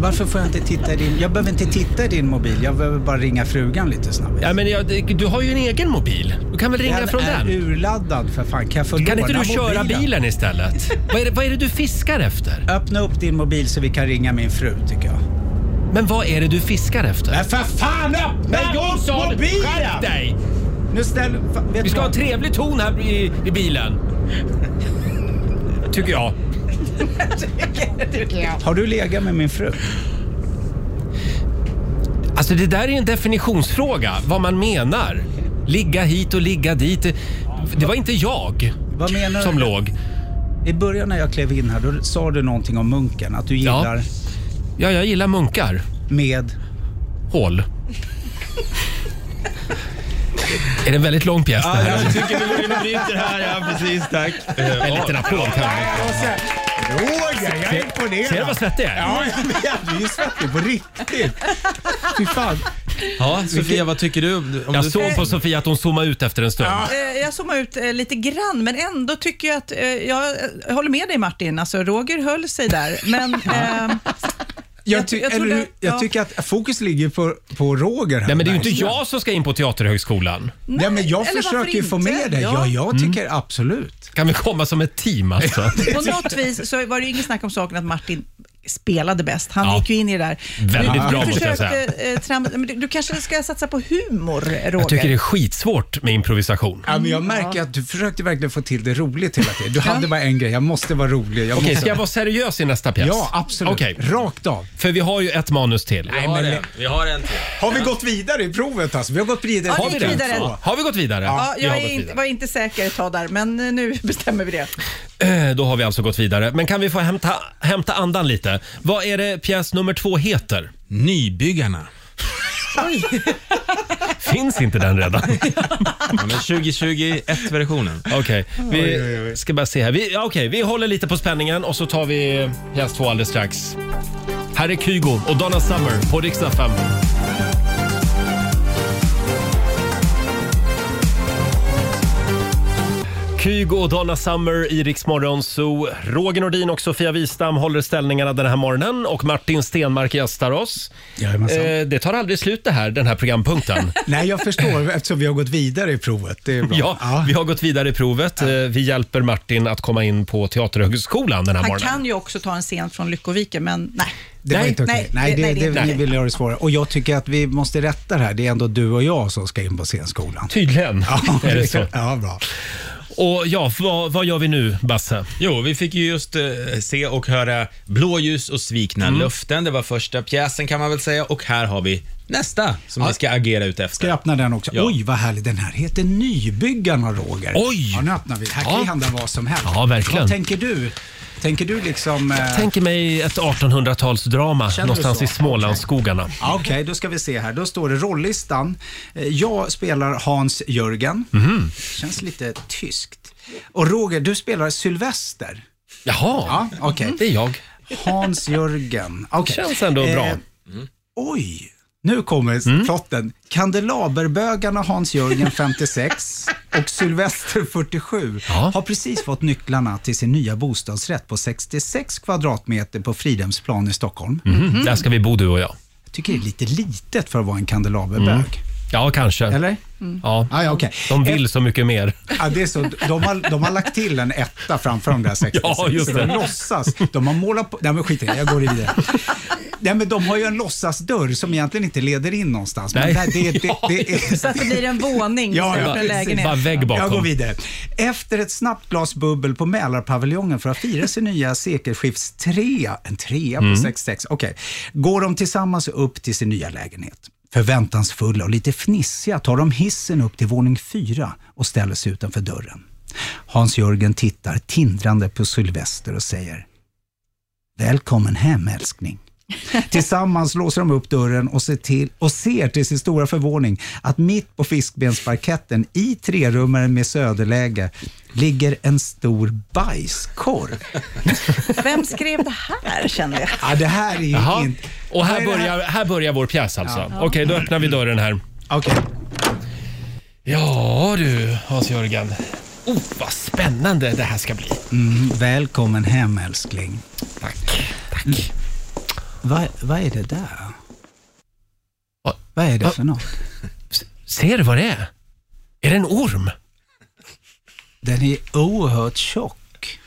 Speaker 10: Varför får jag inte titta i din... Jag behöver inte titta i din mobil. Jag behöver bara ringa frugan lite snabbt.
Speaker 1: Ja, men jag, du har ju en egen mobil. Du kan väl ringa från
Speaker 10: är
Speaker 1: den?
Speaker 10: urladdad för fan. Kan jag få
Speaker 1: Kan inte
Speaker 10: låna
Speaker 1: du köra
Speaker 10: mobilen?
Speaker 1: bilen istället? vad, är det, vad är det du fiskar efter?
Speaker 10: Öppna upp din mobil så vi kan ringa min fru tycker jag.
Speaker 1: Men vad är det du fiskar efter?
Speaker 10: Men för fan öppna
Speaker 1: Men Jonsson,
Speaker 10: mobilen!
Speaker 1: skärp dig!
Speaker 10: Nu ställ, fa- vet
Speaker 1: Vi ska
Speaker 10: du
Speaker 1: ha
Speaker 10: vad?
Speaker 1: en trevlig ton här i, i bilen. Tycker jag.
Speaker 10: Har du legat med min fru?
Speaker 1: Alltså det där är en definitionsfråga, vad man menar. Ligga hit och ligga dit. Det- Det var inte jag
Speaker 10: Vad menar du?
Speaker 1: som låg.
Speaker 10: I början när jag klev in här, då sa du någonting om munken. Att du gillar
Speaker 1: Ja, jag gillar munkar.
Speaker 10: med...
Speaker 1: Hål. Är det en väldigt lång pjäs det här?
Speaker 6: Jag tycker vi går in och bryter här. Ja, precis. Tack. Eh,
Speaker 1: En
Speaker 6: ja.
Speaker 1: liten applåd kanske.
Speaker 10: Roger, jag är
Speaker 1: Ser du vad
Speaker 10: imponerad.
Speaker 1: svettig jag är?
Speaker 10: Ja, jag vet. Du är ju svettig på riktigt. Fy fan.
Speaker 6: Ja, Sofia, vad tycker du? Om
Speaker 1: Jag
Speaker 6: du...
Speaker 1: såg på Sofia att hon zoomade ut efter en stund.
Speaker 9: Eh, Jag zoomar ut eh, lite grann, men ändå tycker jag att eh, jag eh, håller med dig Martin. Alltså, Roger höll sig där, men... eh,
Speaker 10: Jag, ty-
Speaker 9: Jag- jag
Speaker 10: eller,
Speaker 9: trodde-
Speaker 10: hur? jag
Speaker 9: ja.
Speaker 10: tycker att fokus ligger på, på Roger här.
Speaker 1: Nej men det är ju inte
Speaker 10: verkligen.
Speaker 1: jag som ska in på Teaterhögskolan.
Speaker 10: Nej, men jag
Speaker 9: Eller varför
Speaker 10: försöker ju få
Speaker 9: inte?
Speaker 10: med dig. Ja,
Speaker 9: Ja.
Speaker 1: Mm.
Speaker 10: jag tycker absolut.
Speaker 1: Kan vi komma som ett team alltså?
Speaker 9: På något vis så var det ju inget snack om saken att Martin spelade bäst. Han
Speaker 1: Ja.
Speaker 9: gick ju in i det där.
Speaker 1: Väldigt
Speaker 9: du,
Speaker 1: bra,
Speaker 9: du
Speaker 1: måste jag
Speaker 9: försökte, eh, tram- men du, du kanske ska satsa på humor, Roger?
Speaker 1: Jag tycker det är skitsvårt med improvisation.
Speaker 10: Ja, men jag
Speaker 9: Mm.
Speaker 10: märker att du försökte verkligen få till det roligt hela tiden. Du hade bara en grej, jag måste vara rolig. Jag
Speaker 1: Okej,
Speaker 10: måste...
Speaker 1: ska jag vara seriös i nästa pjäs?
Speaker 10: Ja, absolut.
Speaker 1: Okej,
Speaker 10: Rakt av.
Speaker 1: för vi har ju ett manus till.
Speaker 6: Vi har en. Vi har en till.
Speaker 10: Har vi gått vidare i provet alltså? Vi har gått vidare.
Speaker 9: Ja,
Speaker 1: Har vi,
Speaker 9: det?
Speaker 1: det?
Speaker 9: vidare.
Speaker 1: Ja. har vi gått vidare?
Speaker 9: Ja,
Speaker 1: Vi har
Speaker 9: jag är
Speaker 1: gått
Speaker 9: inte,
Speaker 1: vidare.
Speaker 9: var inte säker ett tag där, men eh, nu bestämmer vi det.
Speaker 1: Eh, Då har vi alltså gått vidare. Men kan vi få hämta, hämta andan lite? Vad är det pjäs nummer två heter?
Speaker 6: Nybyggarna.
Speaker 1: Finns inte den redan?
Speaker 6: Ja, men 2021-versionen.
Speaker 1: Okej, vi ska bara se här. Vi, ja, okej, vi håller lite på spänningen och så tar vi pjäs två alldeles strax. Här är Kygo och Donna Summer på riksdag 5. Kygo och Donna Summer i Rix Morgon Zoo. Roger Nordin och Sofia Wistam håller ställningarna den här morgonen och Martin Stenmark gästar oss.
Speaker 10: Jajamensan.
Speaker 1: Eh, det tar aldrig slut det här, den här programpunkten.
Speaker 10: Nej, jag förstår eftersom vi har gått vidare i provet. Det är bra.
Speaker 1: Ja, vi har gått vidare i provet. Eh, Vi hjälper Martin att komma in på Teaterhögskolan den här
Speaker 9: Han
Speaker 1: morgonen.
Speaker 9: kan ju också ta en scen från Lyckoviken, men nej.
Speaker 10: Det var
Speaker 1: Nej,
Speaker 10: inte okej.
Speaker 9: nej,
Speaker 10: Nej, det, nej,
Speaker 9: nej, det
Speaker 10: det,
Speaker 9: är inte
Speaker 10: ni
Speaker 9: okej.
Speaker 10: ville göra det svårare. Och jag tycker att vi måste rätta det här. Det är ändå du och jag som ska in på scenskolan.
Speaker 1: Tydligen är det så.
Speaker 10: Ja, bra.
Speaker 1: Och ja, vad, vad gör vi nu, Basse?
Speaker 6: Jo, vi fick ju just eh, se och höra Blåljus och svikna
Speaker 10: Mm.
Speaker 6: löften. Det var första pjäsen kan man väl säga och här har vi nästa som vi ska agera ut efter.
Speaker 10: Ska jag öppna den också?
Speaker 6: Ja.
Speaker 10: Oj, vad härlig. Den här heter Nybyggarna, Roger.
Speaker 1: Oj!
Speaker 10: Ja, nu öppnar vi. Här
Speaker 1: Ja.
Speaker 10: kan ju hända vad som helst.
Speaker 1: Ja, verkligen.
Speaker 10: Vad tänker du? Tänker du liksom... Eh...
Speaker 1: Tänker mig ett
Speaker 10: Känner
Speaker 1: 1800-talsdrama
Speaker 10: du
Speaker 1: någonstans
Speaker 10: så?
Speaker 1: i Smålandsskogarna.
Speaker 10: Ja, Okej, då ska vi se här. Då står det rollistan. Eh, Jag spelar Hans Jörgen.
Speaker 1: Mhm.
Speaker 10: Känns lite tyskt. Och Roger, du spelar Sylvester.
Speaker 1: Jaha,
Speaker 10: Ja, okej.
Speaker 1: det är jag.
Speaker 10: Hans Jörgen. Okay.
Speaker 1: Känns ändå bra. Mm.
Speaker 10: Oj, nu kommer plotten. Kandelaberbögarna Hans Jörgen 56 och Sylvester 47
Speaker 1: Ja.
Speaker 10: har precis fått nycklarna till sin nya bostadsrätt på 66 kvadratmeter på Fridhemsplan i Stockholm.
Speaker 1: Mm. Där ska vi bo, du och jag.
Speaker 10: Jag tycker det är lite litet för att vara en kandelaberbög.
Speaker 1: Ja, kanske.
Speaker 10: Eller?
Speaker 1: Ja.
Speaker 10: Ah, ja, okej.
Speaker 1: Mm. De vill så mycket mer.
Speaker 10: Ja, det är så, de, har, de har lagt till en etta framför de där 66.
Speaker 1: Ja, just
Speaker 10: Så
Speaker 1: det.
Speaker 10: De låtsas. De har målat på... Nej, men skit i det. Jag går vidare. Nej, men de har ju en låtsasdörr som egentligen inte leder in någonstans.
Speaker 1: Nej.
Speaker 10: Men där, det, det, det
Speaker 9: Så att det
Speaker 10: är...
Speaker 9: blir en våning
Speaker 10: Ja,
Speaker 9: istället
Speaker 10: ja.
Speaker 9: för en lägenhet.
Speaker 1: Bara vägg
Speaker 10: Jag går
Speaker 1: bakom.
Speaker 10: vidare. Efter ett snabbt glas bubbel på Mälarpaviljongen för att fira sin nya sekelskiftstrea, en trea
Speaker 1: Mm.
Speaker 10: på 66, okej, går de tillsammans upp till sin nya lägenhet. Förväntansfulla och lite fnissiga tar de hissen upp till våning fyra och ställer sig utanför dörren. Hans-Jörgen tittar tindrande på Sylvester och säger Välkommen hem älskling. Tillsammans låser de upp dörren och ser, till, och ser till sin stora förvåning att mitt på fiskbensparketten i trerummaren med söderläge ligger en stor bajskorv.
Speaker 9: Vem skrev det här, kände jag?
Speaker 10: Ja, det här är ju
Speaker 1: Jaha.
Speaker 10: inte...
Speaker 1: Och
Speaker 10: Vad
Speaker 1: här
Speaker 10: är det
Speaker 1: börjar, här börjar vår pjäs alltså. Okej, då öppnar vi dörren här.
Speaker 10: Okej.
Speaker 1: Ja du, Hans-Jörgen. Oh, vad spännande det här ska bli.
Speaker 10: Mm, välkommen hem älskling.
Speaker 1: Tack. Tack.
Speaker 10: Vad vad är det där?
Speaker 1: Va-
Speaker 10: Vad är det för något?
Speaker 1: Ser du vad det är? Är det en orm?
Speaker 10: Den är oerhört tjock.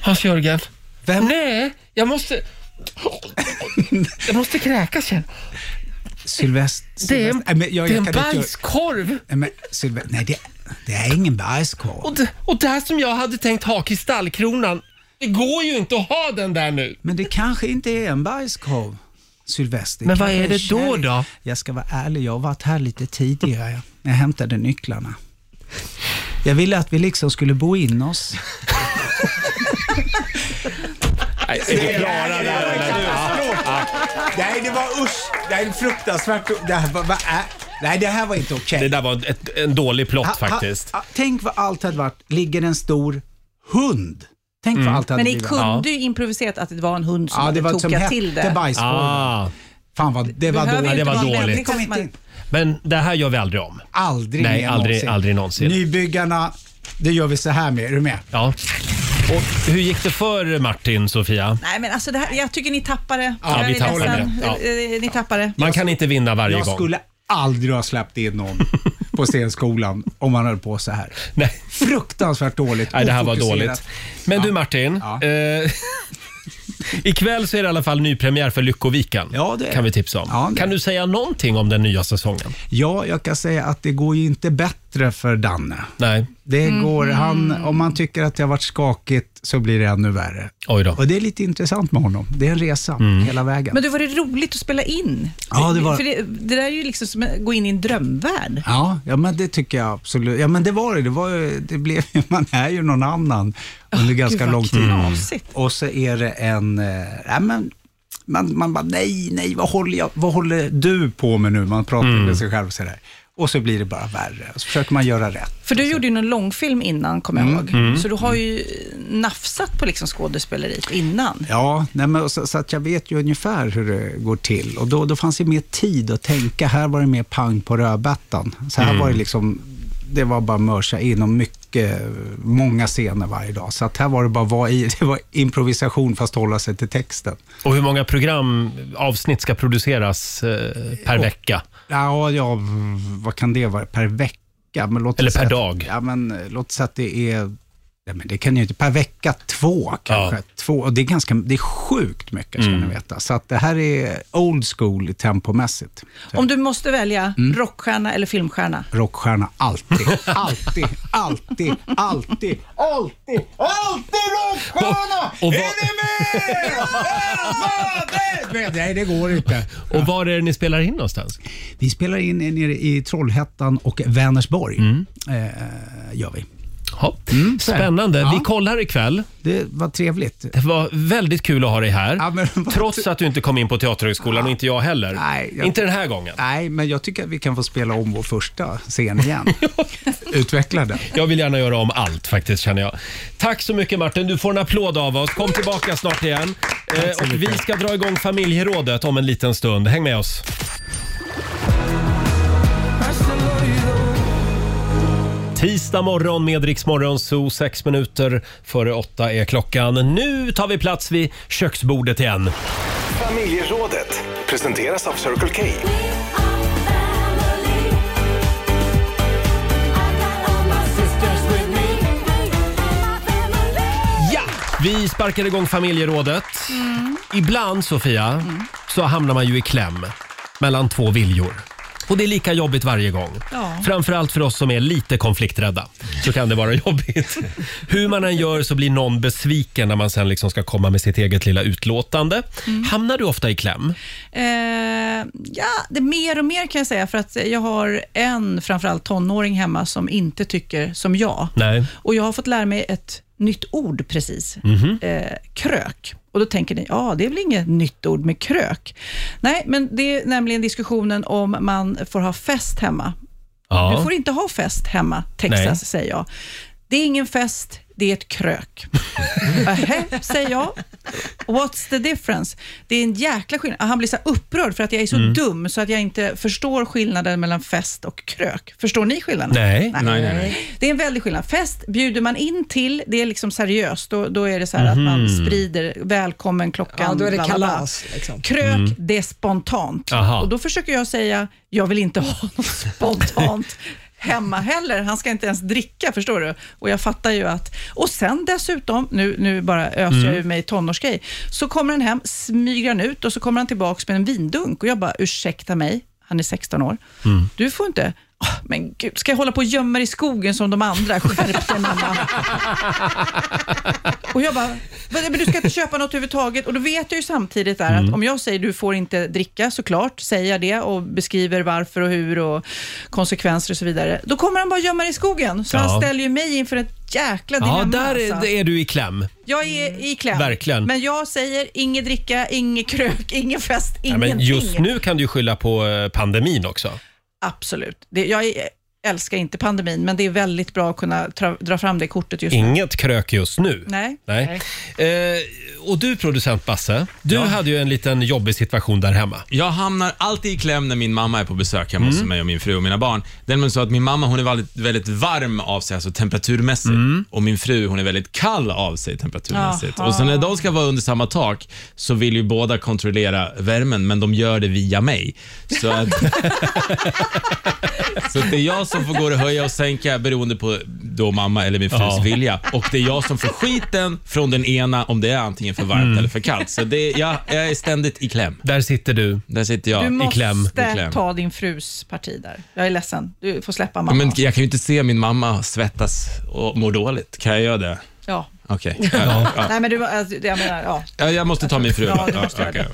Speaker 1: Hans-Jörgen.
Speaker 10: Vem?
Speaker 1: Nej, Jag måste... Jag måste kräkas känner
Speaker 10: Sylvester...
Speaker 1: Det är en-
Speaker 10: Sylvester- Nej, men jag-
Speaker 1: det är
Speaker 10: jag
Speaker 1: en
Speaker 10: kan inte-
Speaker 1: bajskorv!
Speaker 10: Nej, men Sylvester, nej det, det är ingen bajskorv.
Speaker 1: Och det, och det här som jag hade tänkt ha kristallkronan, det går ju inte att ha den där nu.
Speaker 10: Men det kanske inte är en bajskorv, Sylvester.
Speaker 1: Men vad
Speaker 10: Kanske
Speaker 1: är det
Speaker 10: en
Speaker 1: då
Speaker 10: kärlek.
Speaker 1: då?
Speaker 10: Jag ska vara ärlig, jag har varit här lite tidigare. Jag hämtade nycklarna. Jag ville att vi liksom skulle bo in oss.
Speaker 1: Nej,
Speaker 10: Nej, det var usch. Det är fruktansvärt. Det här var, vad är- nej, det här var inte okej.
Speaker 1: Det där var ett, en dålig plott
Speaker 10: Ha- ha-
Speaker 1: faktiskt.
Speaker 10: ha- tänk vad allt hade varit. Ligger en stor hund. Tänk
Speaker 1: Mm.
Speaker 10: vad allt hade
Speaker 9: Men ni
Speaker 10: blivit.
Speaker 9: kunde ju improviserat att det var en hund som
Speaker 10: Ja, det
Speaker 9: hade
Speaker 10: var ett som
Speaker 9: tokat till
Speaker 10: hette
Speaker 9: det.
Speaker 10: bajskorv.
Speaker 1: Ah,
Speaker 10: Fan vad, det var
Speaker 9: Behöver
Speaker 10: dåligt.
Speaker 1: Ja, det
Speaker 9: inte
Speaker 1: var
Speaker 9: vara
Speaker 1: dåligt.
Speaker 9: väldigt-
Speaker 10: Kom inte in.
Speaker 1: men det här gör vi aldrig om.
Speaker 10: Aldrig
Speaker 1: Nej,
Speaker 10: mer
Speaker 1: aldrig-
Speaker 10: någonsin.
Speaker 1: aldrig någonsin.
Speaker 10: Nybyggarna, det gör vi så här med. Är du med?
Speaker 1: Ja. Och hur gick det för Martin, Sofia?
Speaker 9: Nej, men alltså det här, jag tycker ni tappar det.
Speaker 1: Ja,
Speaker 9: Jag
Speaker 1: vi
Speaker 9: är
Speaker 1: tappar
Speaker 9: ledsen.
Speaker 1: det. Ja.
Speaker 9: Eh, eh, Ni tappar det.
Speaker 1: Man kan inte vinna varje
Speaker 10: Jag
Speaker 1: gång.
Speaker 10: skulle aldrig ha släppt in någon på scenskolan om man höll på så här.
Speaker 1: Nej.
Speaker 10: Fruktansvärt dåligt.
Speaker 1: Nej, det här var
Speaker 10: ofokuserat.
Speaker 1: dåligt. Men du Martin,
Speaker 10: Ja.
Speaker 1: eh, ikväll så är det i alla fall nypremiär för Lyckoviken.
Speaker 10: Ja, det är
Speaker 1: kan vi
Speaker 10: det.
Speaker 1: tipsa om.
Speaker 10: Ja, det är
Speaker 1: kan
Speaker 10: det.
Speaker 1: du säga någonting om den nya säsongen?
Speaker 10: Ja, jag kan säga att det går ju inte bättre för Danne.
Speaker 1: Nej,
Speaker 10: Det
Speaker 9: Mhm.
Speaker 10: går, han, om man tycker att det har varit skakigt så blir det ännu värre.
Speaker 1: oj då.
Speaker 10: Och det är lite intressant med honom. Det är en resa
Speaker 1: Mm.
Speaker 10: hela vägen.
Speaker 9: Men du, var det roligt att spela in?
Speaker 10: Ja, det var-
Speaker 9: För det, det där är ju liksom som att gå in i en drömvärld.
Speaker 10: Ja, ja, men det tycker jag absolut. Ja, men det var det. Det, var, ju- det blev ju- man är ju någon annan under ganska
Speaker 9: vad
Speaker 10: lång tid.
Speaker 9: knasigt.
Speaker 10: Och så är det en, eh, nej, men, man, man bara, nej, nej, vad håller, jag, vad håller du på med nu? Man pratar med sig själv sådär. Och så blir det bara värre. Och så försöker man göra rätt.
Speaker 9: För du gjorde ju någon långfilm innan, kommer jag ihåg. Så du har ju nafsat på liksom skådespeleriet innan.
Speaker 10: Ja, nej, men, och så, så att jag vet ju ungefär hur det går till. Och då, då fanns det mer tid att tänka. Här var det mer pang på rödbetan. Så här var det liksom, det var bara mörsa in och mycket, många scener varje dag. Så att här var det bara vara i, det var improvisation fast hålla sig till texten.
Speaker 1: Och hur många programavsnitt ska produceras eh, per vecka?
Speaker 10: Ja, ja, vad kan det vara? Per vecka? Men låt oss
Speaker 1: Eller per
Speaker 10: säga att-
Speaker 1: dag.
Speaker 10: Ja, men eh, låt säga att det är, nej, men det kan ju inte, per vecka två kanske.
Speaker 1: Ja. Mm.
Speaker 10: Två, och det är ganska, det är sjukt mycket ska ni veta. Så att det här är old school tempomässigt.
Speaker 9: Om du måste välja
Speaker 10: Mm.
Speaker 9: rockstjärna eller filmstjärna.
Speaker 10: Rockstjärna, alltid, alltid, alltid, alltid, alltid, alltid rockstjärna!
Speaker 1: Och- och vad-
Speaker 10: är ni med? Men, Nej, det går inte.
Speaker 1: Och var är det ni spelar in någonstans?
Speaker 10: Vi spelar in eh, nere i Trollhättan och Vänersborg.
Speaker 1: Mm.
Speaker 10: Eh, gör vi.
Speaker 1: Ja.
Speaker 10: så är det.
Speaker 1: Spännande.
Speaker 10: Ja.
Speaker 1: Vi kollar ikväll.
Speaker 10: Det var trevligt.
Speaker 1: Det var väldigt kul att ha dig här.
Speaker 10: Ja, men vad-
Speaker 1: Trots att du inte kom in på Teaterhögskolan och inte jag heller.
Speaker 10: Nej, jag-
Speaker 1: Inte den här gången.
Speaker 10: Nej, men jag tycker att vi kan få spela om vår första scen igen. Utveckla den.
Speaker 1: Jag vill gärna göra om allt faktiskt känner jag. Tack så mycket Martin, du får en applåd av oss. Kom tillbaka snart igen. Eh, och vi ska dra igång familjerådet om en liten stund. Häng med oss. Tisdag morgon med Rix Morgon Zoo, sex minuter före åtta är klockan. Nu tar vi plats vid köksbordet igen.
Speaker 2: Familjerådet presenteras av Circle K.
Speaker 1: Ja! Vi sparkar igång familjerådet.
Speaker 9: Mm.
Speaker 1: Ibland, Sofia, så hamnar man ju i kläm mellan två viljor. Och det är lika jobbigt varje gång.
Speaker 9: Ja.
Speaker 1: Framförallt för oss som är lite konflikträdda så kan det vara jobbigt. Hur man än gör så blir någon besviken när man sen liksom ska komma med sitt eget lilla utlåtande.
Speaker 9: Mm.
Speaker 1: Hamnar du ofta i kläm?
Speaker 9: Eh, ja, det är mer och mer kan jag säga, för att jag har en, framförallt tonåring hemma, som inte tycker som jag.
Speaker 1: Nej.
Speaker 9: Och jag har fått lära mig ett nytt ord precis.
Speaker 10: Mhm.
Speaker 9: Eh, krök. Och då tänker ni, ja, det är väl inget nytt ord med krök? Nej, men det är nämligen diskussionen om man får ha fest hemma. Du får inte ha fest hemma, Texas,
Speaker 1: Nej.
Speaker 9: säger jag. Det är ingen fest, det är ett krök. Ähä, säger jag. What's the difference? Det är en jäkla skillnad. Han blir så här upprörd för att jag är så
Speaker 1: Mm.
Speaker 9: dum så att jag inte förstår skillnaden mellan fest och krök. Förstår ni skillnaden?
Speaker 1: Nej.
Speaker 6: Nej, nej, nej.
Speaker 9: Det är en väldig skillnad. Fest bjuder man in till, det är liksom seriöst. Då, då är det så här att man
Speaker 1: Mhm.
Speaker 9: sprider välkommen klockan.
Speaker 3: Ja, då är det
Speaker 9: bla, bla, bla.
Speaker 3: kalas, liksom.
Speaker 9: Krök,
Speaker 11: Mm.
Speaker 9: det är spontant.
Speaker 1: Aha.
Speaker 9: Och då försöker jag säga, jag vill inte ha något spontant hemma heller. Han ska inte ens dricka, förstår du? Och jag fattar ju att... Och sen dessutom, nu, nu bara öser jag
Speaker 11: Mm.
Speaker 9: ur mig tonårsgrej, så kommer han hem, smyger han ut och så kommer han tillbaka med en vindunk och jag bara, ursäkta mig, han är 16 år.
Speaker 11: Mm.
Speaker 9: Du får inte... Åh, men gud, ska jag hålla på och gömma dig i skogen som de andra? Skärp dig mamma. och jag bara, "Vad- men du ska inte köpa något överhuvudtaget. Och då vet jag ju samtidigt där
Speaker 11: Mm.
Speaker 9: att om jag säger du får inte dricka, såklart, säger jag det och beskriver varför och hur och konsekvenser och så vidare. Då kommer han bara gömma dig i skogen. Så
Speaker 1: Ja.
Speaker 9: han ställer ju mig inför ett jäkla dilemma.
Speaker 1: Ja, där är,
Speaker 9: alltså.
Speaker 1: är du i kläm.
Speaker 9: Jag är i kläm.
Speaker 1: Verkligen.
Speaker 9: Men jag säger inget dricka, inget krök, ingen fest,
Speaker 1: Ja,
Speaker 9: ingenting.
Speaker 1: men just nu kan du ju skylla på eh, pandemin också.
Speaker 9: Absolut. Det, jag är- älskar inte pandemin, men det är väldigt bra att kunna tra, dra fram det kortet just nu.
Speaker 1: Inget krök just nu.
Speaker 9: Nej.
Speaker 1: Nej. Eh, och du producent Basse, du hade ju en liten jobbig situation där hemma.
Speaker 6: Jag hamnar alltid i kläm när min mamma är på besök hemma hos
Speaker 1: Mm.
Speaker 6: mig och min fru och mina barn. Den så att min mamma hon är väldigt, väldigt varm av sig, alltså temperaturmässigt.
Speaker 9: Mm.
Speaker 6: Och min fru hon är väldigt kall av sig temperaturmässigt.
Speaker 12: Jaha.
Speaker 6: Och så när de ska vara under samma tak så vill ju båda kontrollera värmen, men de gör det via mig. Så att, så att det är jag som får gå och höja och sänka beroende på då mamma eller min frus
Speaker 1: Ja.
Speaker 6: vilja. Och det är jag som får skiten från den ena om det är antingen för varmt
Speaker 1: Mm.
Speaker 6: eller för kallt. Så det, jag, jag är ständigt i kläm.
Speaker 1: Där sitter du.
Speaker 6: Där sitter jag
Speaker 9: du
Speaker 6: i
Speaker 9: måste
Speaker 6: kläm. I kläm.
Speaker 9: ta din frus parti där. Jag är ledsen. Du får släppa
Speaker 6: Ja,
Speaker 9: mamma.
Speaker 6: men jag kan ju inte se min mamma svettas och må dåligt. Kan jag göra det?
Speaker 9: Ja.
Speaker 6: Okej. Ja. Ja.
Speaker 9: Nej, men du, alltså, jag menar, ja.
Speaker 6: Ja, jag måste ta min fru.
Speaker 9: Ja,
Speaker 6: Ja,
Speaker 9: du måste göra
Speaker 6: okej,
Speaker 9: det.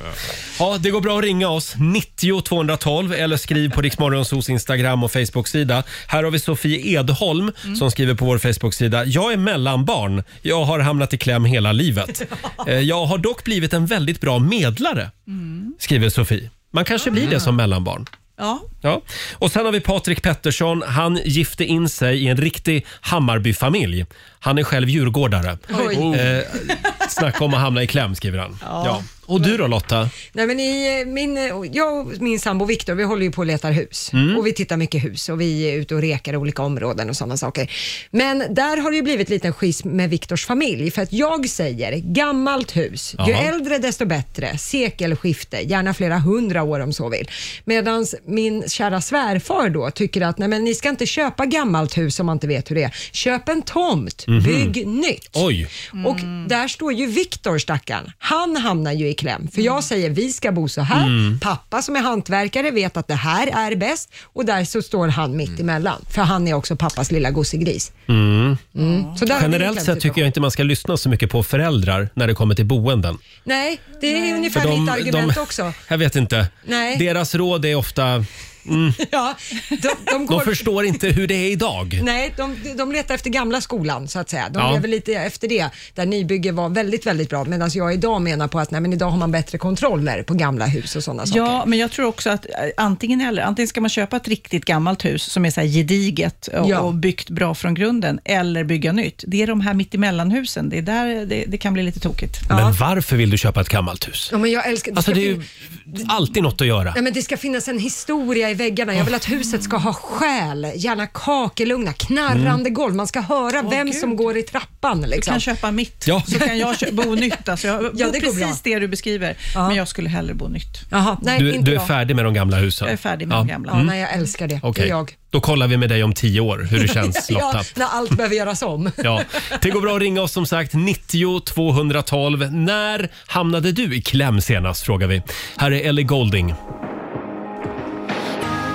Speaker 6: ja.
Speaker 1: Ja, det går bra att ringa oss, 90 212 eller skriv på Riksmorgonsos Instagram och Facebook-sida. Här har vi Sofie Edholm som skriver på vår Facebook-sida. Jag är mellanbarn. Jag har hamnat i kläm hela livet. Eh, Jag har dock blivit en väldigt bra medlare, skriver Sofie. Man kanske blir det som mellanbarn.
Speaker 9: Ja.
Speaker 1: Ja. Och sen har vi Patrik Pettersson. Han gifte in sig i en riktig Hammarbyfamilj. Han är själv djurgårdare.
Speaker 3: Oj.
Speaker 1: Eh, snacka om att hamna i kläm, skriver han.
Speaker 3: Ja.
Speaker 1: Ja. Och du då Lotta?
Speaker 3: Nej, men i, eh, min, eh, jag och min sambo Viktor, vi håller ju på och letar hus
Speaker 1: Mm.
Speaker 3: och vi tittar mycket hus och vi är ute och rekar i olika områden och sådana saker. Men där har det ju blivit lite en schism med Viktors familj för att jag säger gammalt hus, ju
Speaker 11: Jaha.
Speaker 3: äldre desto bättre, sekelskifte, gärna flera hundra år om så vill. Medan min kära svärfar då tycker att nej, men ni ska inte köpa gammalt hus om man inte vet hur det är. Köp en tomt,
Speaker 11: Mhm.
Speaker 3: bygg nytt.
Speaker 1: Oj.
Speaker 3: Mm. Och där står ju Viktor stackarn. Han hamnar ju i kläm. För jag säger vi ska bo så här.
Speaker 11: Mm.
Speaker 3: Pappa som är hantverkare vet att det här är bäst. Och där så står han mitt emellan. För han är också pappas lilla gossegris.
Speaker 1: Mm.
Speaker 3: Mm. Så där har vi en
Speaker 1: Generellt
Speaker 3: klämd
Speaker 1: sett tycker jag inte man ska lyssna så mycket på föräldrar när det kommer till boenden.
Speaker 3: Nej, det är ungefär
Speaker 1: För
Speaker 3: mitt argument
Speaker 1: de,
Speaker 3: också.
Speaker 1: Jag vet inte.
Speaker 3: Nej.
Speaker 1: Deras råd är ofta... Mm,
Speaker 3: Ja, de, de
Speaker 1: de
Speaker 3: går...
Speaker 1: förstår inte hur det är idag.
Speaker 3: Nej, de, de letar efter gamla skolan så att säga. De
Speaker 1: Ja.
Speaker 3: lever lite efter det, där nybygge var väldigt, väldigt bra. Medan jag idag menar på att nej, men idag har man bättre kontroller på gamla hus och sådana saker.
Speaker 9: Ja, men jag tror också att eh, antingen eller. Antingen ska man köpa ett riktigt gammalt hus som är så här gediget och,
Speaker 3: Ja.
Speaker 9: och byggt bra från grunden, eller bygga nytt. Det är de här mittemellanhusen, det är där det, det kan bli lite tokigt.
Speaker 1: Men varför vill du köpa ett gammalt hus?
Speaker 3: Ja, men jag älskar...
Speaker 1: Alltså
Speaker 3: ska
Speaker 1: det är ju
Speaker 3: fin-
Speaker 1: alltid något att göra.
Speaker 3: Nej, men det ska finnas en historia i väggarna. Jag vill att huset ska ha själ, gärna kakelugnar, knarrande
Speaker 1: Mm.
Speaker 3: golv. Man ska höra vem som går i trappan. Liksom.
Speaker 9: kan köpa mitt,
Speaker 1: Ja.
Speaker 9: så kan jag kö- bo nytt. Alltså jag,
Speaker 3: Ja,
Speaker 9: bo
Speaker 3: det går
Speaker 9: precis
Speaker 3: bra.
Speaker 9: det du beskriver, men jag skulle hellre bo nytt.
Speaker 3: Jaha,
Speaker 1: du, du är färdig med de gamla husen?
Speaker 9: Jag är färdig med de gamla.
Speaker 1: Mm.
Speaker 3: Ja, nej, jag älskar det. Det
Speaker 1: Okej.
Speaker 3: är jag.
Speaker 1: Då kollar vi med dig om tio år hur det känns Lotta.
Speaker 3: ja, när allt behöver göras om.
Speaker 1: Ja, det går bra att ringa oss som sagt. 90 212. När hamnade du i kläm senast frågar vi. Här är Ellie Golding.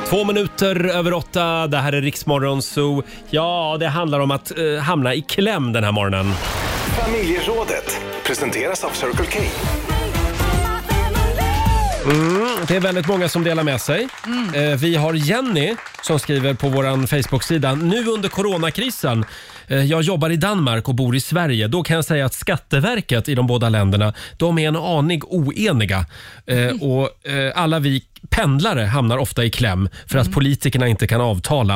Speaker 1: Två minuter över åtta. Det här är Riksmorgon Zoo. Ja, det handlar om att eh, hamna i kläm den här morgonen.
Speaker 2: Familjerådet presenteras av Circle K.
Speaker 1: Mm, det är väldigt många som delar med sig. Eh, vi har Jenny som skriver på vår Facebook-sida. Nu under coronakrisen, eh, jag jobbar i Danmark och bor i Sverige. Då kan jag säga att Skatteverket i de båda länderna, de är en aning oeniga. Eh, och eh, alla vi pendlare hamnar ofta i kläm för att politikerna inte kan avtala.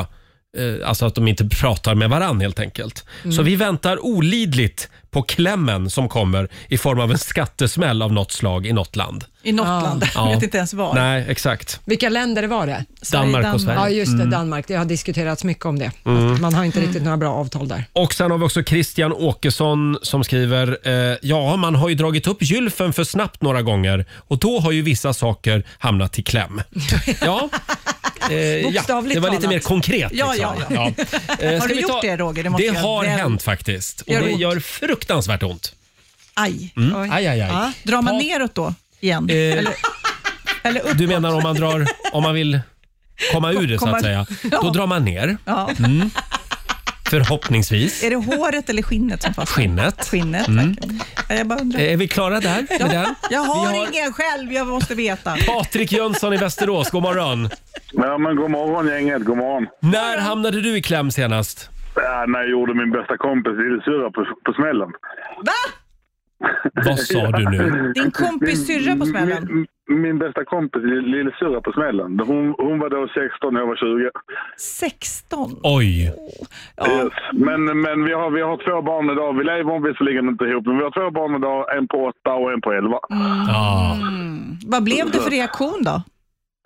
Speaker 1: Eh, alltså att de inte pratar med varann helt enkelt.
Speaker 12: Mm.
Speaker 1: Så vi väntar olidligt på klämmen som kommer i form av en skattesmäll av något slag i något land.
Speaker 9: I något land, jag
Speaker 1: Ja.
Speaker 9: vet inte ens var.
Speaker 1: Nej, exakt.
Speaker 3: Vilka länder var det?
Speaker 1: Sverige, Danmark och Sverige.
Speaker 3: Ja, just det.
Speaker 1: Mm.
Speaker 3: Danmark. Det har diskuterats mycket om det.
Speaker 1: Mm.
Speaker 3: Att Man har inte riktigt några bra avtal där.
Speaker 1: Och sen har vi också Christian Åkesson som skriver eh, “Ja, man har ju dragit upp gylfen för snabbt några gånger och då har ju vissa saker hamnat i kläm.” Ja, Eh, ja,
Speaker 9: Bokstavligt
Speaker 1: det var lite
Speaker 9: talat.
Speaker 1: mer konkret.
Speaker 9: Ja,
Speaker 1: liksom.
Speaker 9: ja, ja. Har
Speaker 1: ska
Speaker 9: du
Speaker 1: vi
Speaker 9: gjort det, Roger? Det måste göra
Speaker 1: har
Speaker 9: väl-
Speaker 1: hänt faktiskt. Och
Speaker 9: Gör
Speaker 1: det
Speaker 9: ont.
Speaker 1: gör fruktansvärt ont.
Speaker 9: Aj.
Speaker 1: Mm. Aj, aj, aj.
Speaker 9: Ja, drar man
Speaker 1: Ta-
Speaker 9: neråt då igen?
Speaker 1: Eh,
Speaker 9: Eller, eller uppåt?
Speaker 1: Du menar om man drar, om man vill komma ur det så
Speaker 9: Komma-
Speaker 1: att säga. Då
Speaker 9: Ja.
Speaker 1: drar man ner.
Speaker 9: Ja.
Speaker 1: Mm. Förhoppningsvis.
Speaker 9: Är det håret eller skinnet som fastnar?
Speaker 1: Skinnet.
Speaker 9: Skinnet,
Speaker 1: Mm.
Speaker 9: Ja, Jag bara undrar.
Speaker 1: Eh, Är vi klara där? Med den?
Speaker 9: Jag har,
Speaker 1: Vi har-
Speaker 9: ingen själv, jag måste veta.
Speaker 1: Patrik Jönsson i Västerås, god morgon.
Speaker 11: Ja, men god morgon gänget, god morgon.
Speaker 1: När hamnade du i kläm senast?
Speaker 11: Äh, när jag gjorde min bästa kompis lillsyrra på, på smällen.
Speaker 9: Va?
Speaker 1: Vad sa du nu?
Speaker 9: Din kompis syrra på smällen?
Speaker 11: Min, min bästa kompis lill- lillsyrra på smällen. Hon, hon var då 16 och jag var 20.
Speaker 9: 16?
Speaker 1: Oj.
Speaker 11: Yes. Men, men vi, har, vi har två barn idag. Vi lever visserligen inte ihop, men vi har två barn idag. En på åtta och en på elva.
Speaker 9: Mm. Vad blev det för reaktion då?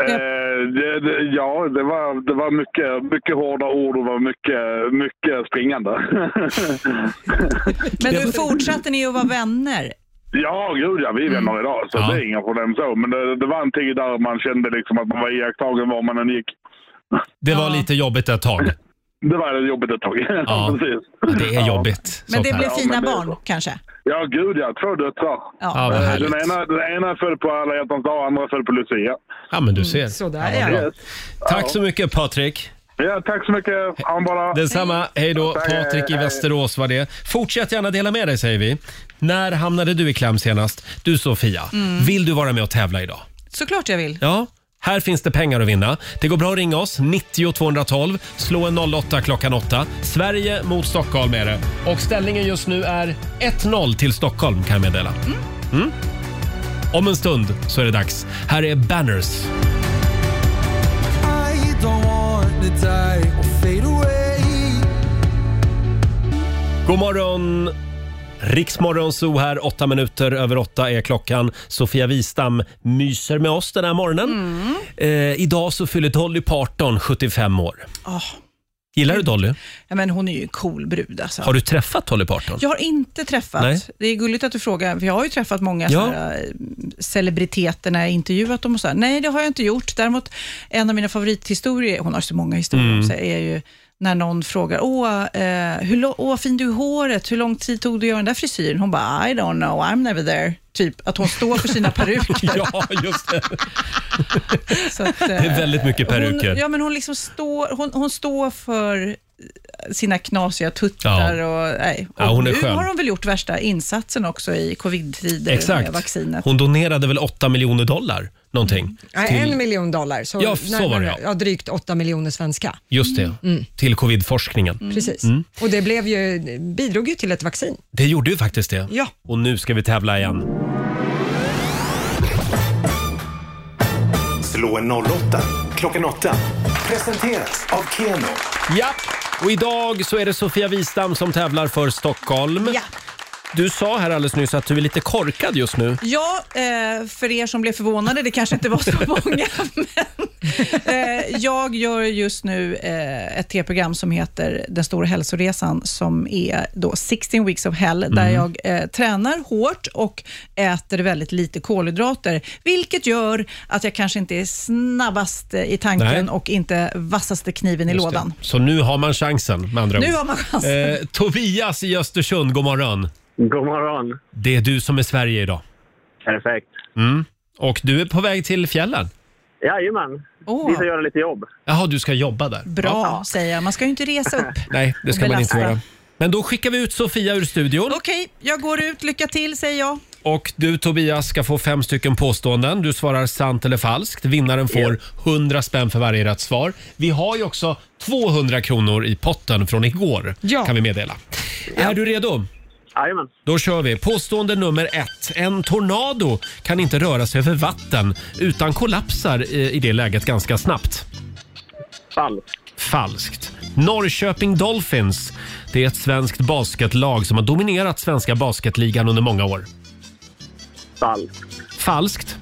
Speaker 11: Eh, det, det, ja, det var, det var mycket, mycket hårda ord och var mycket, mycket springande.
Speaker 9: Men nu fortsatte ni att vara vänner?
Speaker 11: Ja, gud ja, vi är vänner idag så det är inga problem så. Men det, det var en tid där man kände liksom att man var iakttagen var man än gick.
Speaker 1: Det var lite jobbigt ett tag.
Speaker 11: Det var jobbigt ett tag.
Speaker 1: Ja.
Speaker 11: Precis.
Speaker 1: Ja, det är jobbigt.
Speaker 9: Men det
Speaker 1: sånt
Speaker 9: blev
Speaker 1: här.
Speaker 9: fina barn kanske?
Speaker 11: Ja, gud ja. Två döttrar.
Speaker 1: Ja, vad
Speaker 11: Eh,
Speaker 1: härligt.
Speaker 11: den, ena, den ena föll på alla hjärtans dag, andra föll på Lucia.
Speaker 1: Ja, men du
Speaker 9: Mm,
Speaker 1: ser.
Speaker 11: ja.
Speaker 1: vad bra.
Speaker 11: Yes.
Speaker 1: Tack så mycket Patrik.
Speaker 11: Ja, tack så mycket. Ha en bra dag.
Speaker 1: Detsamma. Hej då.
Speaker 11: Tack,
Speaker 1: Patrik i
Speaker 11: hej.
Speaker 1: Västerås var det. Fortsätt gärna dela med dig säger vi. När hamnade du i kläm senast? Du Sofia,
Speaker 9: Mm.
Speaker 1: vill du vara med och tävla idag?
Speaker 9: Såklart jag vill.
Speaker 1: Ja, här finns det pengar att vinna. Det går bra att ringa oss, 90 212. Slå en 08 klockan 8. Sverige mot Stockholm är det. Och ställningen just nu är 1-0 till Stockholm kan jag meddela. Mm. Om en stund så är det dags. Här är Banners.
Speaker 8: I don't want to die or fade away.
Speaker 1: God morgon! Riksmorgon Zoo här, åtta minuter över åtta är klockan. Sofia Wistam myser med oss den här morgonen. Eh, idag så fyller Dolly Parton 75 år.
Speaker 9: Åh,
Speaker 1: Gillar du Dolly?
Speaker 9: Ah, ja, men hon är ju en cool brud alltså.
Speaker 1: Har du träffat Dolly Parton?
Speaker 9: Jag har inte träffat.
Speaker 1: Nej.
Speaker 9: Det är gulligt att du frågar, för jag har ju träffat många
Speaker 1: Ja.
Speaker 9: ja. celebriteter när jag intervjuat dem och så här. Nej, det har jag inte gjort. Däremot, en av mina favorithistorier, hon har så många historier
Speaker 12: Mm.
Speaker 9: om sig, är ju när någon frågar, åh, eh, hur lo- åh, fin du är i håret, hur lång tid tog det att göra den där frisyren? Hon bara, I don't know, I'm never there. Typ att hon står för sina peruker.
Speaker 1: ja, just det.
Speaker 9: Så att, eh,
Speaker 1: Det är väldigt mycket peruker.
Speaker 9: Hon, ja, men hon, liksom står, hon, hon står för sina knasiga tuttar. Och, nej.
Speaker 1: Ja, hon är
Speaker 9: och nu
Speaker 1: skön.
Speaker 9: har hon väl gjort värsta insatsen också i covid-tider med
Speaker 1: Exakt.
Speaker 9: vaccinet. Mm.
Speaker 1: Hon donerade väl 8 miljoner dollar någonting.
Speaker 3: Nej,
Speaker 1: Till,
Speaker 3: En miljon dollar, så,
Speaker 1: Ja, så var det, ja.
Speaker 3: ja, drygt åtta miljoner svenska.
Speaker 1: just det,
Speaker 3: Mm.
Speaker 1: till covidforskningen.
Speaker 3: Precis.
Speaker 1: Mm.
Speaker 3: Och det blev ju, bidrog ju till ett vaccin.
Speaker 1: Det gjorde ju faktiskt det.
Speaker 3: Ja.
Speaker 1: Och nu ska vi tävla igen.
Speaker 2: Slå en 08 klockan 8. Presenteras av Keno.
Speaker 1: Ja, och idag så är det Sofia Wistam som tävlar för Stockholm. Du sa här alldeles nyss att du är lite korkad just nu.
Speaker 9: Ja, eh, för er som blev förvånade, det kanske inte var så många, men eh, jag gör just nu eh, ett tv-program som heter Den stora hälsoresan, som är då 16 weeks of hell, där
Speaker 12: Mm.
Speaker 9: jag eh, tränar hårt och äter väldigt lite kolhydrater, vilket gör att jag kanske inte är snabbast eh, i tanken
Speaker 1: Nej.
Speaker 9: och inte vassaste kniven i
Speaker 1: Just
Speaker 9: lådan.
Speaker 1: det. Så nu har man chansen med andra
Speaker 9: Nu
Speaker 1: ord.
Speaker 9: har man chansen.
Speaker 1: Eh, Tobias i Östersund, god morgon. God morgon. Det är du som är Sverige idag. Perfekt. Mm. Och du är på väg till fjällen?
Speaker 13: Jajamän.
Speaker 9: Åh.
Speaker 13: Vi ska göra lite jobb.
Speaker 1: Jaha, du ska jobba där?
Speaker 9: Bra, säger jag. Man ska ju inte resa upp.
Speaker 1: Nej, det ska
Speaker 9: Och
Speaker 1: man inte
Speaker 9: belasta.
Speaker 1: göra. Men då skickar vi ut Sofia ur studion.
Speaker 9: Okej, jag går ut. Lycka till, säger jag.
Speaker 1: Och du Tobias ska få fem stycken påståenden. Du svarar sant eller falskt. Vinnaren får 100 spänn för varje rätt svar. Vi har ju också 200 kronor i potten från igår, kan vi meddela. Är du redo?
Speaker 13: Jajamän.
Speaker 1: Då kör vi. Påstående nummer ett. En tornado kan inte röra sig över vatten utan kollapsar eh, i det läget ganska snabbt.
Speaker 13: Falskt.
Speaker 1: Falskt. Norrköping Dolphins. Det är ett svenskt basketlag som har dominerat svenska basketligan under många år.
Speaker 13: Falskt.
Speaker 1: Falskt.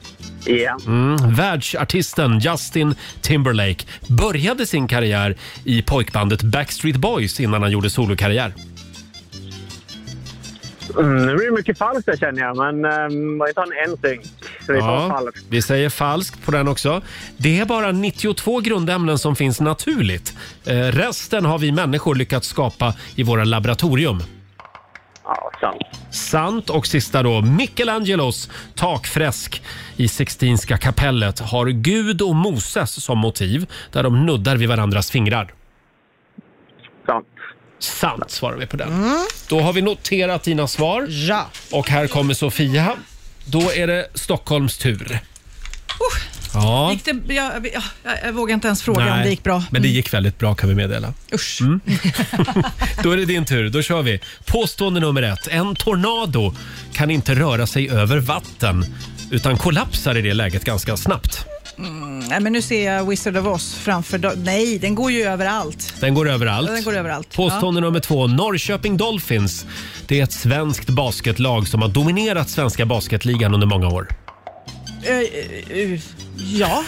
Speaker 13: Ja.
Speaker 1: Mm. Världsartisten Justin Timberlake började sin karriär i pojkbandet Backstreet Boys innan han gjorde solokarriär.
Speaker 13: Mm, nu blir det mycket falskt där känner jag, men um, var inte han ehm, en sing? Så vi tar falskt.
Speaker 1: vi säger falskt på den också. Det är bara 92 grundämnen som finns naturligt. Eh, resten har vi människor lyckats skapa i våra laboratorium.
Speaker 13: Ja, sant.
Speaker 1: Sant. Och sista då. Michelangelos takfresk i Sixtinska kapellet har Gud och Moses som motiv där de nuddar vid varandras fingrar.
Speaker 13: Sant.
Speaker 1: Sant svarar vi på den.
Speaker 9: Mm.
Speaker 1: Då har vi noterat dina svar. Ja. Och här kommer Sofia. Då är det Stockholms tur. Ja.
Speaker 9: Gick det, jag, jag, jag vågar inte ens fråga om
Speaker 1: Nej,
Speaker 9: Uh. det gick bra. Mm.
Speaker 1: Men det gick väldigt bra kan vi meddela.
Speaker 9: Usch.
Speaker 1: Mm. Då är det din tur. Då kör vi. Påstående nummer ett. En tornado kan inte röra sig över vatten utan kollapsar i det läget ganska snabbt.
Speaker 9: Mm, nej, men nu ser jag Wizard of Oz framför... do- Nej, den går ju överallt.
Speaker 1: Den går överallt.
Speaker 9: Den går överallt.
Speaker 1: Påstående nummer två. Norrköping Dolphins. Det är ett svenskt basketlag som har dominerat svenska basketligan under många år.
Speaker 9: Ja. Eh, eh, eh, ja.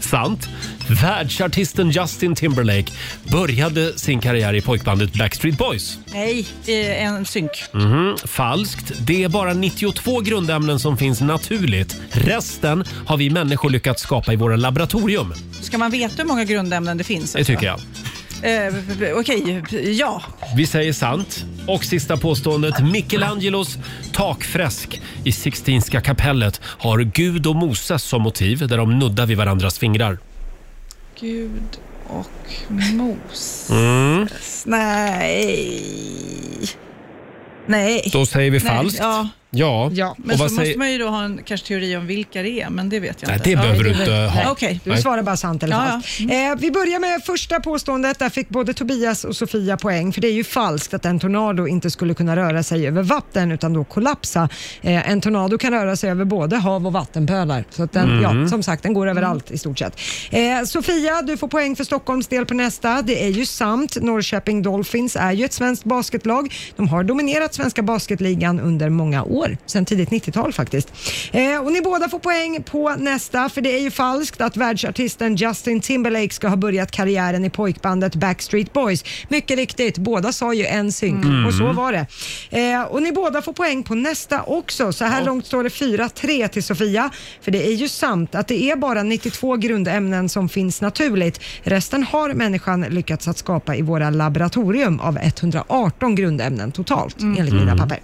Speaker 1: Sant. Världsartisten Justin Timberlake började sin karriär i pojkbandet Backstreet Boys.
Speaker 9: Nej, eh, en synk.
Speaker 1: Mhm, falskt. Det är bara 92 grundämnen som finns naturligt. Resten har vi människor lyckats skapa i våra laboratorium.
Speaker 9: Ska man veta hur många grundämnen det finns? alltså?
Speaker 1: Det tycker jag.
Speaker 9: Eh, Okej, ja.
Speaker 1: Vi säger sant. Och sista påståendet. Michelangelos takfresk i Sixtinska kapellet har Gud och Moses som motiv där de nuddar vid varandras fingrar.
Speaker 9: Gud och mos.
Speaker 1: Mm.
Speaker 9: Nej. Nej.
Speaker 1: Då säger vi
Speaker 9: Nej,
Speaker 1: falskt.
Speaker 9: Ja.
Speaker 1: Ja.
Speaker 9: Men
Speaker 1: och
Speaker 9: så
Speaker 1: vad
Speaker 9: måste
Speaker 1: säger...
Speaker 9: man ju då ha en kanske teori om vilka det är, men det vet jag
Speaker 1: Nej,
Speaker 9: inte.
Speaker 1: det behöver du inte ha.
Speaker 9: Okej.
Speaker 1: Nej.
Speaker 3: Du svarar bara sant eller
Speaker 9: Ja, Mm. ja.
Speaker 3: falskt. Eh, vi börjar med första påståendet. Där fick både Tobias och Sofia poäng. För det är ju falskt att en tornado inte skulle kunna röra sig över vatten utan då kollapsa. Eh, en tornado kan röra sig över både hav och vattenpölar. Så att den,
Speaker 12: Mm.
Speaker 3: ja, som sagt, den går överallt i stort sett. Eh, Sofia, du får poäng för Stockholms del på nästa. Det är ju sant. Norrköping Dolphins är ju ett svenskt basketlag. De har dominerat svenska basketligan under många år, sedan tidigt 90-tal faktiskt. Eh, och ni båda får poäng på nästa, för det är ju falskt att världsartisten Justin Timberlake ska ha börjat karriären i pojkbandet Backstreet Boys. Mycket riktigt, båda sa ju en synk
Speaker 12: Mm.
Speaker 3: och så var det. Eh, och ni båda får poäng på nästa också. Så här långt står det 4-3 till Sofia. För det är ju sant att det är bara 92 grundämnen som finns naturligt. Resten har människan lyckats att skapa i våra laboratorium av 118 grundämnen totalt enligt mina
Speaker 12: Mm.
Speaker 3: papper.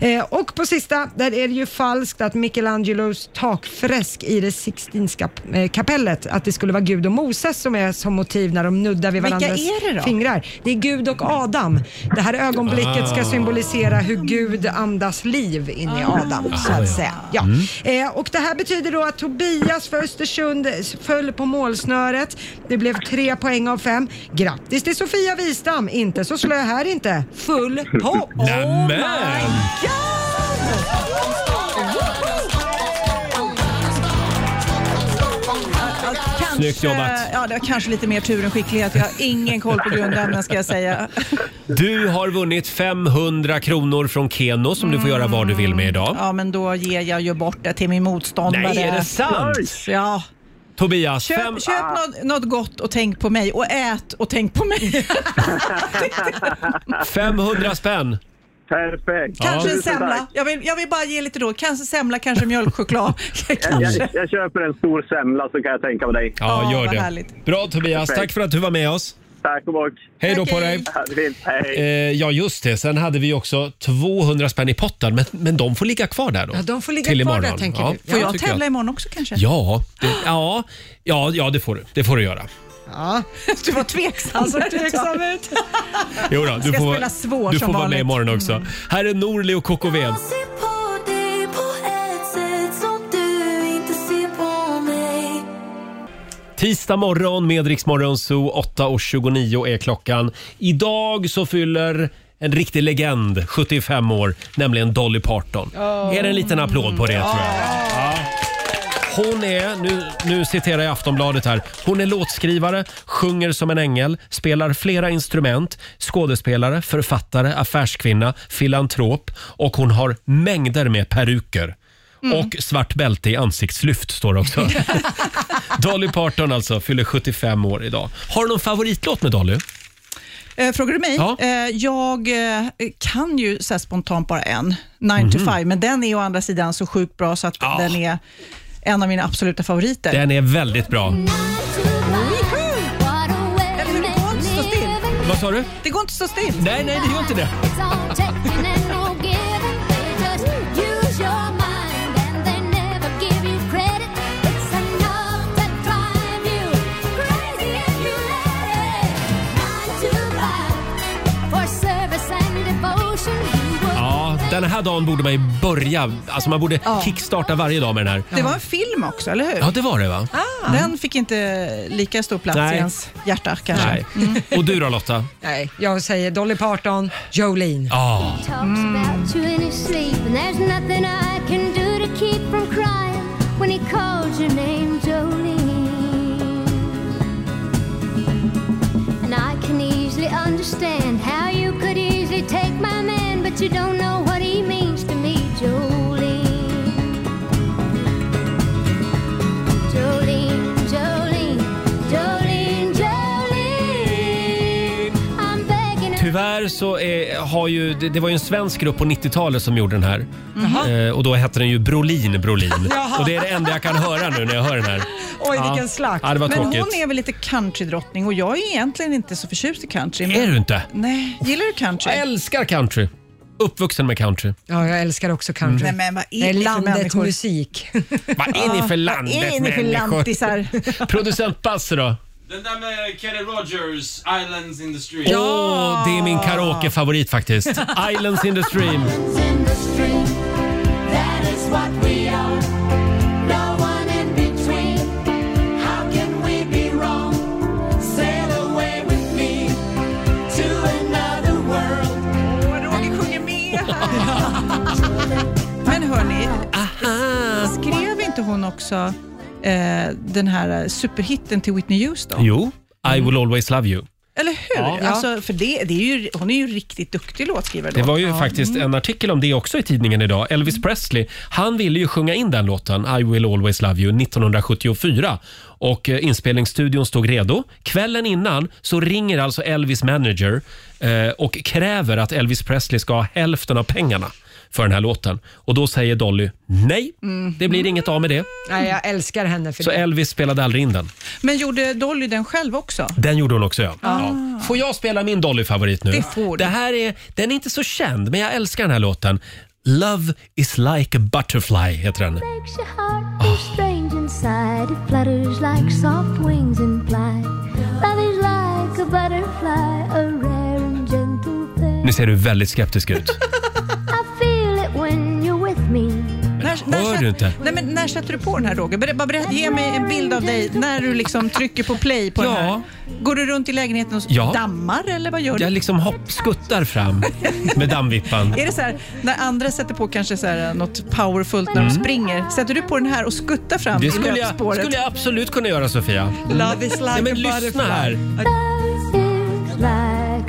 Speaker 3: Eh, och på sista, där är det ju falskt att Michelangelos takfresk i det Sixtinska eh, kapellet, att det skulle vara Gud och Moses som är som motiv när de nuddar vid
Speaker 9: Vilka
Speaker 3: varandras
Speaker 9: är det då?
Speaker 3: fingrar. Det är Gud och Adam. Det här ögonblicket
Speaker 12: Ah.
Speaker 3: ska symbolisera hur Gud andas liv in i Adam, så
Speaker 12: Ah, ja.
Speaker 3: att säga. Ja.
Speaker 12: Mm.
Speaker 3: Eh, och det här betyder då att Tobias för Östersund föll på målsnöret. Det blev tre poäng av fem. Grattis till Sofia Wistam, inte så slö här inte. Full Oh pott!
Speaker 1: Nämen!
Speaker 9: Kanske,
Speaker 1: Snyggt jobbat.
Speaker 9: Ja, det var kanske lite mer tur än skicklighet. Jag har ingen koll på grundämnen ska jag säga.
Speaker 1: Du har vunnit 500 kronor från Keno som du får göra vad du vill med idag.
Speaker 9: Ja, men då ger jag ju bort det till min motståndare.
Speaker 1: Nej, är det sant?
Speaker 9: Ja.
Speaker 1: Tobias, fem... Ah.
Speaker 9: Köp, köp något, något gott och tänk på mig och ät och tänk på mig.
Speaker 1: 500 spänn.
Speaker 13: Perfekt.
Speaker 9: Kanske en
Speaker 13: Tusen
Speaker 9: semla.
Speaker 13: tack.
Speaker 9: Jag vill, jag vill bara ge lite råd. Kanske semla, kanske mjölkchoklad.
Speaker 13: Jag, jag,
Speaker 9: kanske.
Speaker 13: jag köper en stor semla så kan jag tänka på dig.
Speaker 1: Ja, gör
Speaker 9: vad
Speaker 1: det.
Speaker 9: härligt.
Speaker 1: Bra Tobias,
Speaker 13: Perfekt.
Speaker 1: tack för att du var med oss.
Speaker 13: Tack och bock.
Speaker 1: Hej då på dig.
Speaker 13: Ja, det är fint. Hej.
Speaker 1: Eh, ja, just det. Sen hade vi också 200 spänn i potten, men, men de får ligga kvar där då.
Speaker 3: Ja, de får ligga
Speaker 1: Till
Speaker 3: kvar
Speaker 1: imorgon.
Speaker 3: där tänker
Speaker 1: ja,
Speaker 3: du.
Speaker 9: Får jag
Speaker 1: tycker
Speaker 9: tävla imorgon också kanske?
Speaker 1: Ja, det, ja, ja, ja det, får du. det får du göra.
Speaker 3: Ja.
Speaker 9: Du var tveksam.
Speaker 3: Han såg tveksam ut.
Speaker 1: Jo då, du
Speaker 9: Ska
Speaker 1: får,
Speaker 9: spela svår
Speaker 1: du
Speaker 9: som
Speaker 1: får vara med
Speaker 9: vanligt. Mm.
Speaker 1: imorgon också. Här är Norli och KKV.
Speaker 12: på dig på ett sätt som du inte ser på mig
Speaker 1: Tisdag morgon med Rix Morgon Zoo, 8.29 är klockan. Idag så fyller en riktig legend 75 år, nämligen Dolly Parton. Är det en liten applåd på det tror jag? Ja. Hon är, nu, nu citerar jag Aftonbladet här, hon är låtskrivare, sjunger som en ängel, spelar flera instrument, skådespelare, författare, affärskvinna, filantrop och hon har mängder med peruker.
Speaker 12: Mm.
Speaker 1: Och svart bälte i ansiktslyft står det också. Dolly Parton alltså fyller 75 år idag. Har du någon favoritlåt med Dolly?
Speaker 9: Eh, frågar du mig?
Speaker 12: Ja.
Speaker 9: Eh, jag eh, kan ju så här spontant bara en, 9 to
Speaker 1: Mhm.
Speaker 9: 5, men den är å andra sidan så sjukt bra så att den är en av mina absoluta favoriter.
Speaker 1: Den är väldigt bra. Vad sa du?
Speaker 9: Det går inte att stå still.
Speaker 1: Nej, nej, det gör inte det. Ja, den här dagen borde man ju börja. Alltså man borde
Speaker 9: Ja.
Speaker 1: kickstarta varje dag med den här.
Speaker 9: Det var en film också, eller hur?
Speaker 1: Ja, det var det va?
Speaker 9: Ah. Den fick inte lika stor plats
Speaker 1: Nej.
Speaker 9: i ens hjärta kanske.
Speaker 1: Nej. Och du då Lotta?
Speaker 3: Nej, jag säger Dolly Parton, Jolene.
Speaker 1: Ja.
Speaker 4: talks about you in his sleep, and there's nothing I can do to keep from crying when he calls your name, Jolene. And I can easily understand how you could easily take my man, but you don't know what he means to me, Jolene. Jolene, Jolene, Jolene, Jolene. I'm begging of
Speaker 1: Tyvärr så är, har ju, det, det var ju en svensk grupp på 90-talet som gjorde den här.
Speaker 3: Jaha.
Speaker 1: Eh, och då hette den ju Brolin Brolin.
Speaker 9: Jaha.
Speaker 1: och det är det enda jag kan höra nu när jag hör den här.
Speaker 9: Oj,
Speaker 1: Ja.
Speaker 9: vilken slakt.
Speaker 1: Ja, det var
Speaker 9: men
Speaker 1: tråkigt.
Speaker 9: hon är väl lite countrydrottning och jag är egentligen inte så förtjust i country. Men...
Speaker 1: Är du inte?
Speaker 9: Nej, gillar du country?
Speaker 1: Jag älskar country. Uppvuxen med country.
Speaker 3: Ja, jag älskar också country.
Speaker 9: Mm. Nej, men vad
Speaker 3: Det
Speaker 9: är
Speaker 3: är
Speaker 9: ni för
Speaker 3: landet
Speaker 9: människor?
Speaker 3: musik.
Speaker 1: Ah, Vad är ni för
Speaker 9: Vad är
Speaker 1: landet
Speaker 9: ni för lantisar?
Speaker 1: människor? Producent Basse då?
Speaker 6: Den där med Kenny Rogers, Islands in the stream.
Speaker 1: Åh, det är min karaokefavorit faktiskt. Islands in the stream.
Speaker 12: in the street. That is what we are. No one in between. How can we be wrong? Sail away with me to another world.
Speaker 9: Men hörni, skrev inte hon också eh, den här eh, superhitten till Whitney Houston?
Speaker 1: Jo, I will always love you.
Speaker 9: Eller hur?
Speaker 1: Ja.
Speaker 9: Alltså, för det, det är ju, hon är ju riktigt duktig låtskrivare. då.
Speaker 1: Det var ju
Speaker 9: Ja.
Speaker 1: faktiskt
Speaker 9: Mm.
Speaker 1: en artikel om det också i tidningen idag. Elvis Presley, han ville ju sjunga in den låten, I will always love you, 1974. Och eh, inspelningsstudion stod redo. Kvällen innan så ringer alltså Elvis manager eh, och kräver att Elvis Presley ska ha hälften av pengarna för den här låten. Och då säger Dolly nej,
Speaker 9: Mm.
Speaker 1: det blir inget av med det.
Speaker 3: Nej, jag älskar henne för
Speaker 1: Så
Speaker 3: det.
Speaker 1: Elvis spelade aldrig in den.
Speaker 9: Men gjorde Dolly den själv också?
Speaker 1: Den gjorde hon också ja.
Speaker 9: Ah.
Speaker 1: ja. Får jag spela min Dolly-favorit nu?
Speaker 9: Det får du.
Speaker 1: Det här är, den är inte så känd, men jag älskar den här låten. Love is like a butterfly heter den.
Speaker 4: makes your heart go strange inside. It flutters like soft wings in flight. Love is like a butterfly, a rare and gentle thing.
Speaker 1: Nu ser du väldigt skeptisk ut.
Speaker 4: I feel it when you're with me.
Speaker 9: När,
Speaker 1: hör
Speaker 9: när,
Speaker 1: du inte?
Speaker 9: Nej, men när sätter du på den här Roger? Ber, bara berätta, ge mig en bild av dig när du liksom trycker på play på den här. Går du runt i lägenheten och
Speaker 1: Ja.
Speaker 9: dammar eller vad gör du?
Speaker 1: Jag liksom hopp, skuttar fram med dammvippan.
Speaker 9: Är det så här, när andra sätter på kanske så här, eh, något powerfullt när de
Speaker 1: Mm.
Speaker 9: springer, sätter du på den här och skuttar fram
Speaker 1: Det
Speaker 9: i
Speaker 1: skulle jag,
Speaker 9: löpspåret?
Speaker 1: skulle jag absolut kunna göra Sofia.
Speaker 9: Love is like
Speaker 1: Nej, men
Speaker 9: a
Speaker 1: lyssna
Speaker 9: butterfly.
Speaker 1: här.
Speaker 4: Like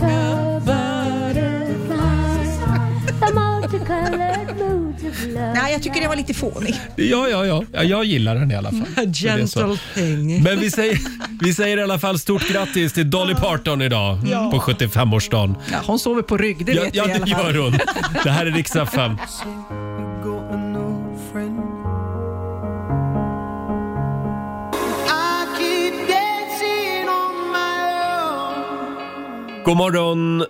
Speaker 4: a butterfly, the multicolored moods of love.
Speaker 9: Nej, jag tycker det var lite fånig.
Speaker 1: Ja, ja, ja. ja jag gillar den i alla fall. Så det är så.
Speaker 3: Gentle thing.
Speaker 1: Men vi säger, vi säger i alla fall stort grattis till Dolly Parton idag
Speaker 9: Ja.
Speaker 1: på 75-årsdagen.
Speaker 9: Ja, hon sover på rygg, det
Speaker 1: ja,
Speaker 9: vet
Speaker 1: ja,
Speaker 9: vi i
Speaker 1: det
Speaker 9: alla fall.
Speaker 1: gör hon. Det här är riksdag 5.
Speaker 12: I keep dancing on my own.
Speaker 1: God morgon!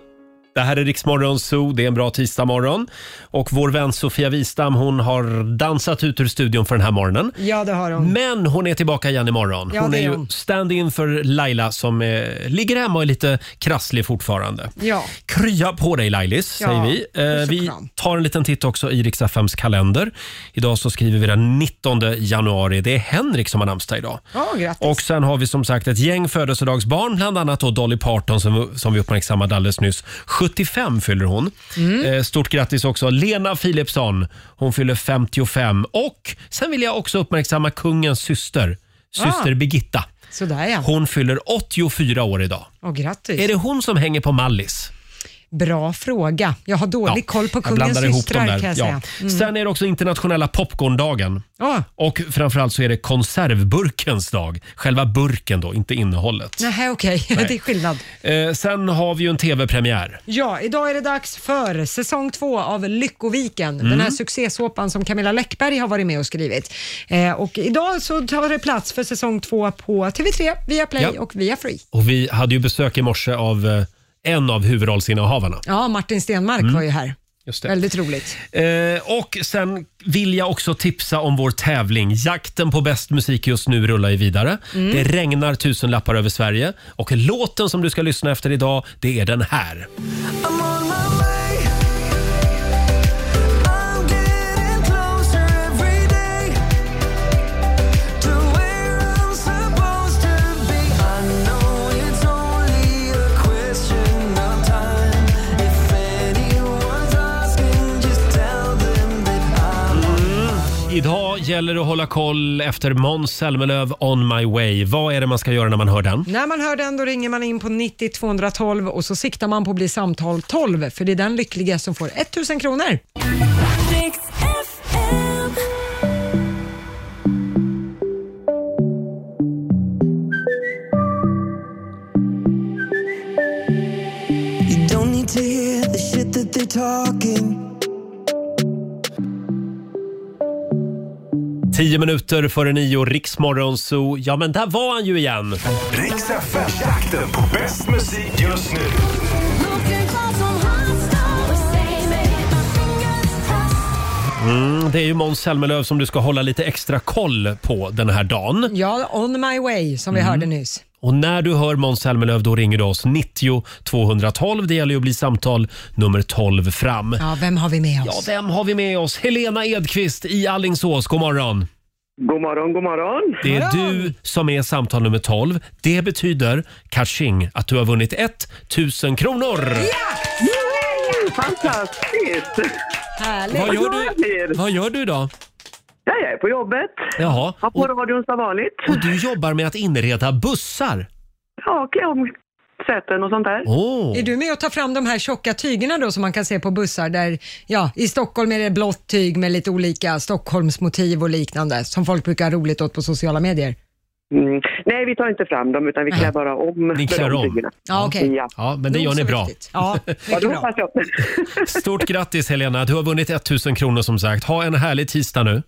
Speaker 1: Det här är Riksmorgon Zoo. Det är en bra tisdagmorgon. Och vår vän Sofia Wistam hon har dansat ut ur studion för den här morgonen.
Speaker 3: Ja, det har hon.
Speaker 1: Men hon är tillbaka igen imorgon.
Speaker 3: Ja,
Speaker 1: Hon
Speaker 3: det
Speaker 1: är
Speaker 3: är
Speaker 1: ju
Speaker 3: hon.
Speaker 1: stand-in för Laila som eh, ligger hemma och är lite krasslig fortfarande.
Speaker 3: Ja.
Speaker 1: Krya på dig Lailis,
Speaker 3: Ja,
Speaker 1: säger vi. Eh,
Speaker 3: puss och
Speaker 1: vi
Speaker 3: kram.
Speaker 1: tar en liten titt också i Riksaffems kalender. Idag så skriver vi den 19 januari. Det är Henrik som har namnsdag idag.
Speaker 3: Ja, grattis.
Speaker 1: Och sen har vi som sagt ett gäng födelsedagsbarn, bland annat då Dolly Parton som, som vi uppmärksammade alldeles nyss. 75 fyller hon.
Speaker 3: Mm.
Speaker 1: Eh, Stort grattis också Lena Philipsson. Hon fyller 55. Och sen vill jag också uppmärksamma kungens syster, syster
Speaker 3: Ah.
Speaker 1: Birgitta.
Speaker 3: Sådär ja.
Speaker 1: Hon fyller 84 år idag.
Speaker 3: Och grattis.
Speaker 1: Är det hon som hänger på Mallis?
Speaker 3: Bra fråga. Jag har dålig koll på
Speaker 1: Jag
Speaker 3: kungens
Speaker 1: blandar ihop dem
Speaker 3: systrar
Speaker 1: där.
Speaker 3: kan jag säga. Mm.
Speaker 1: Ja. Sen är det också internationella popcorndagen.
Speaker 3: Ah.
Speaker 1: Och framförallt så är det konservburkens dag. Själva burken då, inte innehållet.
Speaker 3: Nähä, okej.
Speaker 1: Nej.
Speaker 3: Det är skillnad.
Speaker 1: Eh, sen har vi ju en tv-premiär.
Speaker 3: Ja, idag är det dags för säsong två av Lyckoviken.
Speaker 1: Mm.
Speaker 3: Den här succésåpan som Camilla Läckberg har varit med och skrivit. Eh, och idag så tar det plats för säsong två på TV3, via Play
Speaker 1: Ja.
Speaker 3: och via Free.
Speaker 1: Och vi hade ju besök i morse av eh, en av huvudrollsinnehavarna.
Speaker 3: Ja, Martin Stenmark
Speaker 1: Mm.
Speaker 3: var ju här.
Speaker 1: Just det.
Speaker 3: Väldigt roligt.
Speaker 1: Eh, och sen vill jag också tipsa om vår tävling. Jakten på bäst musik just nu rullar ju vidare.
Speaker 12: Mm.
Speaker 1: Det regnar tusenlappar över Sverige. Och låten som du ska lyssna efter idag, det är den här.
Speaker 12: I'm on my way. I'm getting closer every day to where I'm supposed to be. I know it's only a question of time. If anyone's asking, just tell them that I'm on my way.
Speaker 1: Idag gäller det att hålla koll efter Måns Zelmerlöw, On My Way. Vad är det man ska göra när man hör den?
Speaker 3: När man hör den då ringer man in på 90 212 och så siktar man på att bli samtal 12 för det är den lyckliga som får 1000 kronor.
Speaker 12: You don't need to hear the shit that they're talking.
Speaker 1: Tio minuter före nio, Riksmorgon Zoo. Ja, men där var han ju igen!
Speaker 2: Riks FM-jakten på bäst musik just nu.
Speaker 1: Mm, det är ju Måns Zelmerlöw som du ska hålla lite extra koll på den här dagen.
Speaker 3: Ja, On My Way som vi
Speaker 1: Mm.
Speaker 3: hörde nyss.
Speaker 1: Och när du hör Måns Zelmerlöw då ringer du oss 90 212. Det gäller ju att bli samtal nummer 12 fram.
Speaker 3: Ja, vem har vi med oss?
Speaker 1: Ja, vem har vi med oss? Helena Edqvist i Alingsås. God morgon!
Speaker 14: God morgon, god morgon.
Speaker 1: Det är du som är samtal nummer 12. Det betyder, catching, att du har vunnit 1000 kronor!
Speaker 14: Yay! Fantastiskt!
Speaker 3: Härligt.
Speaker 1: Vad gör du, vad gör du idag?
Speaker 14: Ja, jag är på jobbet.
Speaker 1: Jaha.
Speaker 14: Har på radion som vanligt.
Speaker 1: Och du jobbar med att inreda bussar?
Speaker 14: Ja, klä om säten och sånt där.
Speaker 1: Åh.
Speaker 3: Är du med och tar fram de här tjocka tygerna då som man kan se på bussar där, ja, i Stockholm är det blått tyg med lite olika Stockholmsmotiv och liknande som folk brukar ha roligt åt på sociala medier?
Speaker 14: Mm. Nej, vi tar inte fram dem utan vi klär bara om.
Speaker 1: Ni klär om?
Speaker 3: Ja, okej.
Speaker 14: Ja.
Speaker 1: Ja, men det
Speaker 14: Nog
Speaker 1: gör ni
Speaker 14: så
Speaker 1: bra.
Speaker 14: viktigt. Ja, det hoppas jag.
Speaker 1: Stort grattis Helena, du har vunnit 1000 kronor som sagt. Ha en härlig tisdag nu.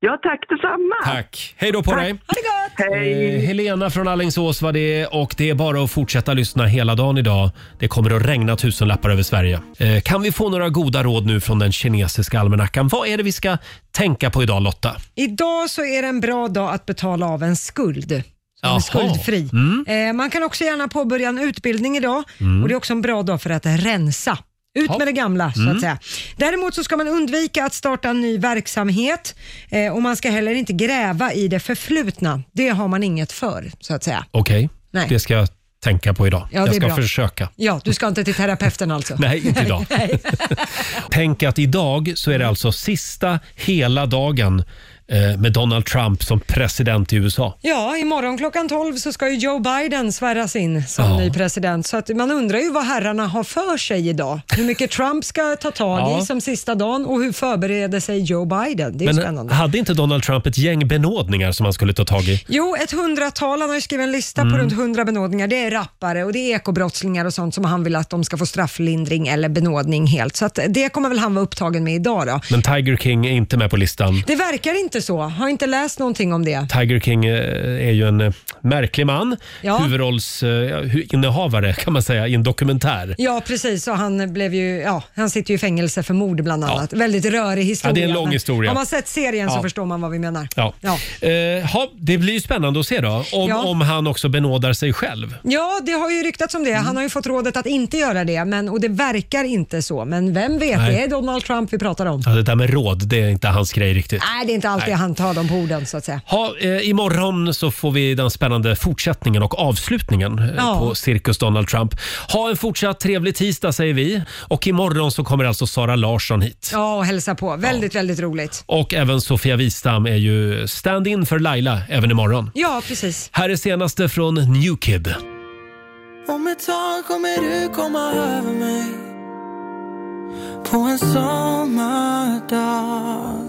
Speaker 14: Ja, tack detsamma.
Speaker 1: Tack. Hej då på dig.
Speaker 3: Ha det gott!
Speaker 1: Eh, Helena från Alingsås var det och det är bara att fortsätta lyssna hela dagen idag. Det kommer att regna tusenlappar över Sverige. Eh, kan vi få några goda råd nu från den kinesiska almanackan? Vad är det vi ska tänka på idag Lotta?
Speaker 3: Idag så är det en bra dag att betala av en skuld. Som är
Speaker 1: Jaha.
Speaker 3: skuldfri.
Speaker 1: Mm.
Speaker 3: Eh, man kan också gärna påbörja en utbildning idag
Speaker 12: Mm.
Speaker 3: och det är också en bra dag för att rensa. Ut
Speaker 12: Ja.
Speaker 3: med det gamla så
Speaker 12: Mm.
Speaker 3: att säga. Däremot så ska man undvika att starta en ny verksamhet eh, och man ska heller inte gräva i det förflutna. Det har man inget för så att säga.
Speaker 1: Okej,
Speaker 3: Nej.
Speaker 1: det ska jag tänka på idag.
Speaker 3: Ja, det
Speaker 1: jag
Speaker 3: är
Speaker 1: ska
Speaker 3: bra.
Speaker 1: försöka.
Speaker 3: Ja, du ska inte till terapeuten alltså?
Speaker 1: Nej, inte idag.
Speaker 3: Nej.
Speaker 1: Tänk att idag så är det alltså sista hela dagen eh, med Donald Trump som president i USA.
Speaker 3: Ja, imorgon klockan 12 så ska ju Joe Biden sväras in som
Speaker 1: Ja.
Speaker 3: ny president. Så att man undrar ju vad herrarna har för sig idag. Hur mycket Trump ska ta tag
Speaker 1: Ja.
Speaker 3: i som sista dagen och hur förbereder sig Joe Biden? Det är ju
Speaker 1: Men eh,
Speaker 3: spännande.
Speaker 1: hade inte Donald Trump ett gäng benådningar som han skulle ta tag i?
Speaker 3: Jo, ett hundratal. Han har ju skrivit en lista
Speaker 1: Mm.
Speaker 3: på runt hundra benådningar. Det är rappare och det är ekobrottslingar och sånt som han vill att de ska få strafflindring eller benådning helt. Så att det kommer väl han vara upptagen med idag då.
Speaker 1: Men Tiger King är inte med på listan.
Speaker 3: Det verkar inte så. Har inte läst någonting om det.
Speaker 1: Tiger King eh, är ju en eh, märklig man.
Speaker 3: Ja.
Speaker 1: Huvudrollsinnehavare kan man säga i en dokumentär.
Speaker 3: Ja, precis. Och han, blev ju, ja, han sitter ju i fängelse för mord bland annat. Väldigt rörig historia.
Speaker 1: Ja, det är en lång
Speaker 3: men
Speaker 1: historia.
Speaker 3: Har man sett serien så
Speaker 1: Ja.
Speaker 3: förstår man vad vi menar.
Speaker 1: Ja.
Speaker 3: Ja.
Speaker 1: Eh, ha, det blir ju spännande att se då om,
Speaker 3: Ja.
Speaker 1: om han också benådar sig själv.
Speaker 3: Ja, det har ju ryktats om det. Han har ju fått rådet att inte göra det men, och det verkar inte så. Men vem vet,
Speaker 1: Nej.
Speaker 3: det är Donald Trump vi pratar om.
Speaker 1: Ja, det där med råd, det är inte hans grej riktigt.
Speaker 3: Nej, det är inte alltid
Speaker 1: Nej.
Speaker 3: han tar dem på orden så att säga.
Speaker 1: Ha, eh, imorgon så får vi den spännande fortsättningen och avslutningen eh,
Speaker 3: Ja.
Speaker 1: på Cirkus Donald Trump. Ha en fortsatt trevlig tisdag säger vi. Och imorgon så kommer alltså Sara Larsson hit.
Speaker 3: Ja, och hälsa på. Väldigt, väldigt roligt.
Speaker 1: Och även Sofia Wistam är ju stand-in för Laila även imorgon.
Speaker 3: Ja, precis.
Speaker 1: Här är senaste från New Kid.
Speaker 12: Om ett tag kommer du komma över mig
Speaker 9: På en sommardag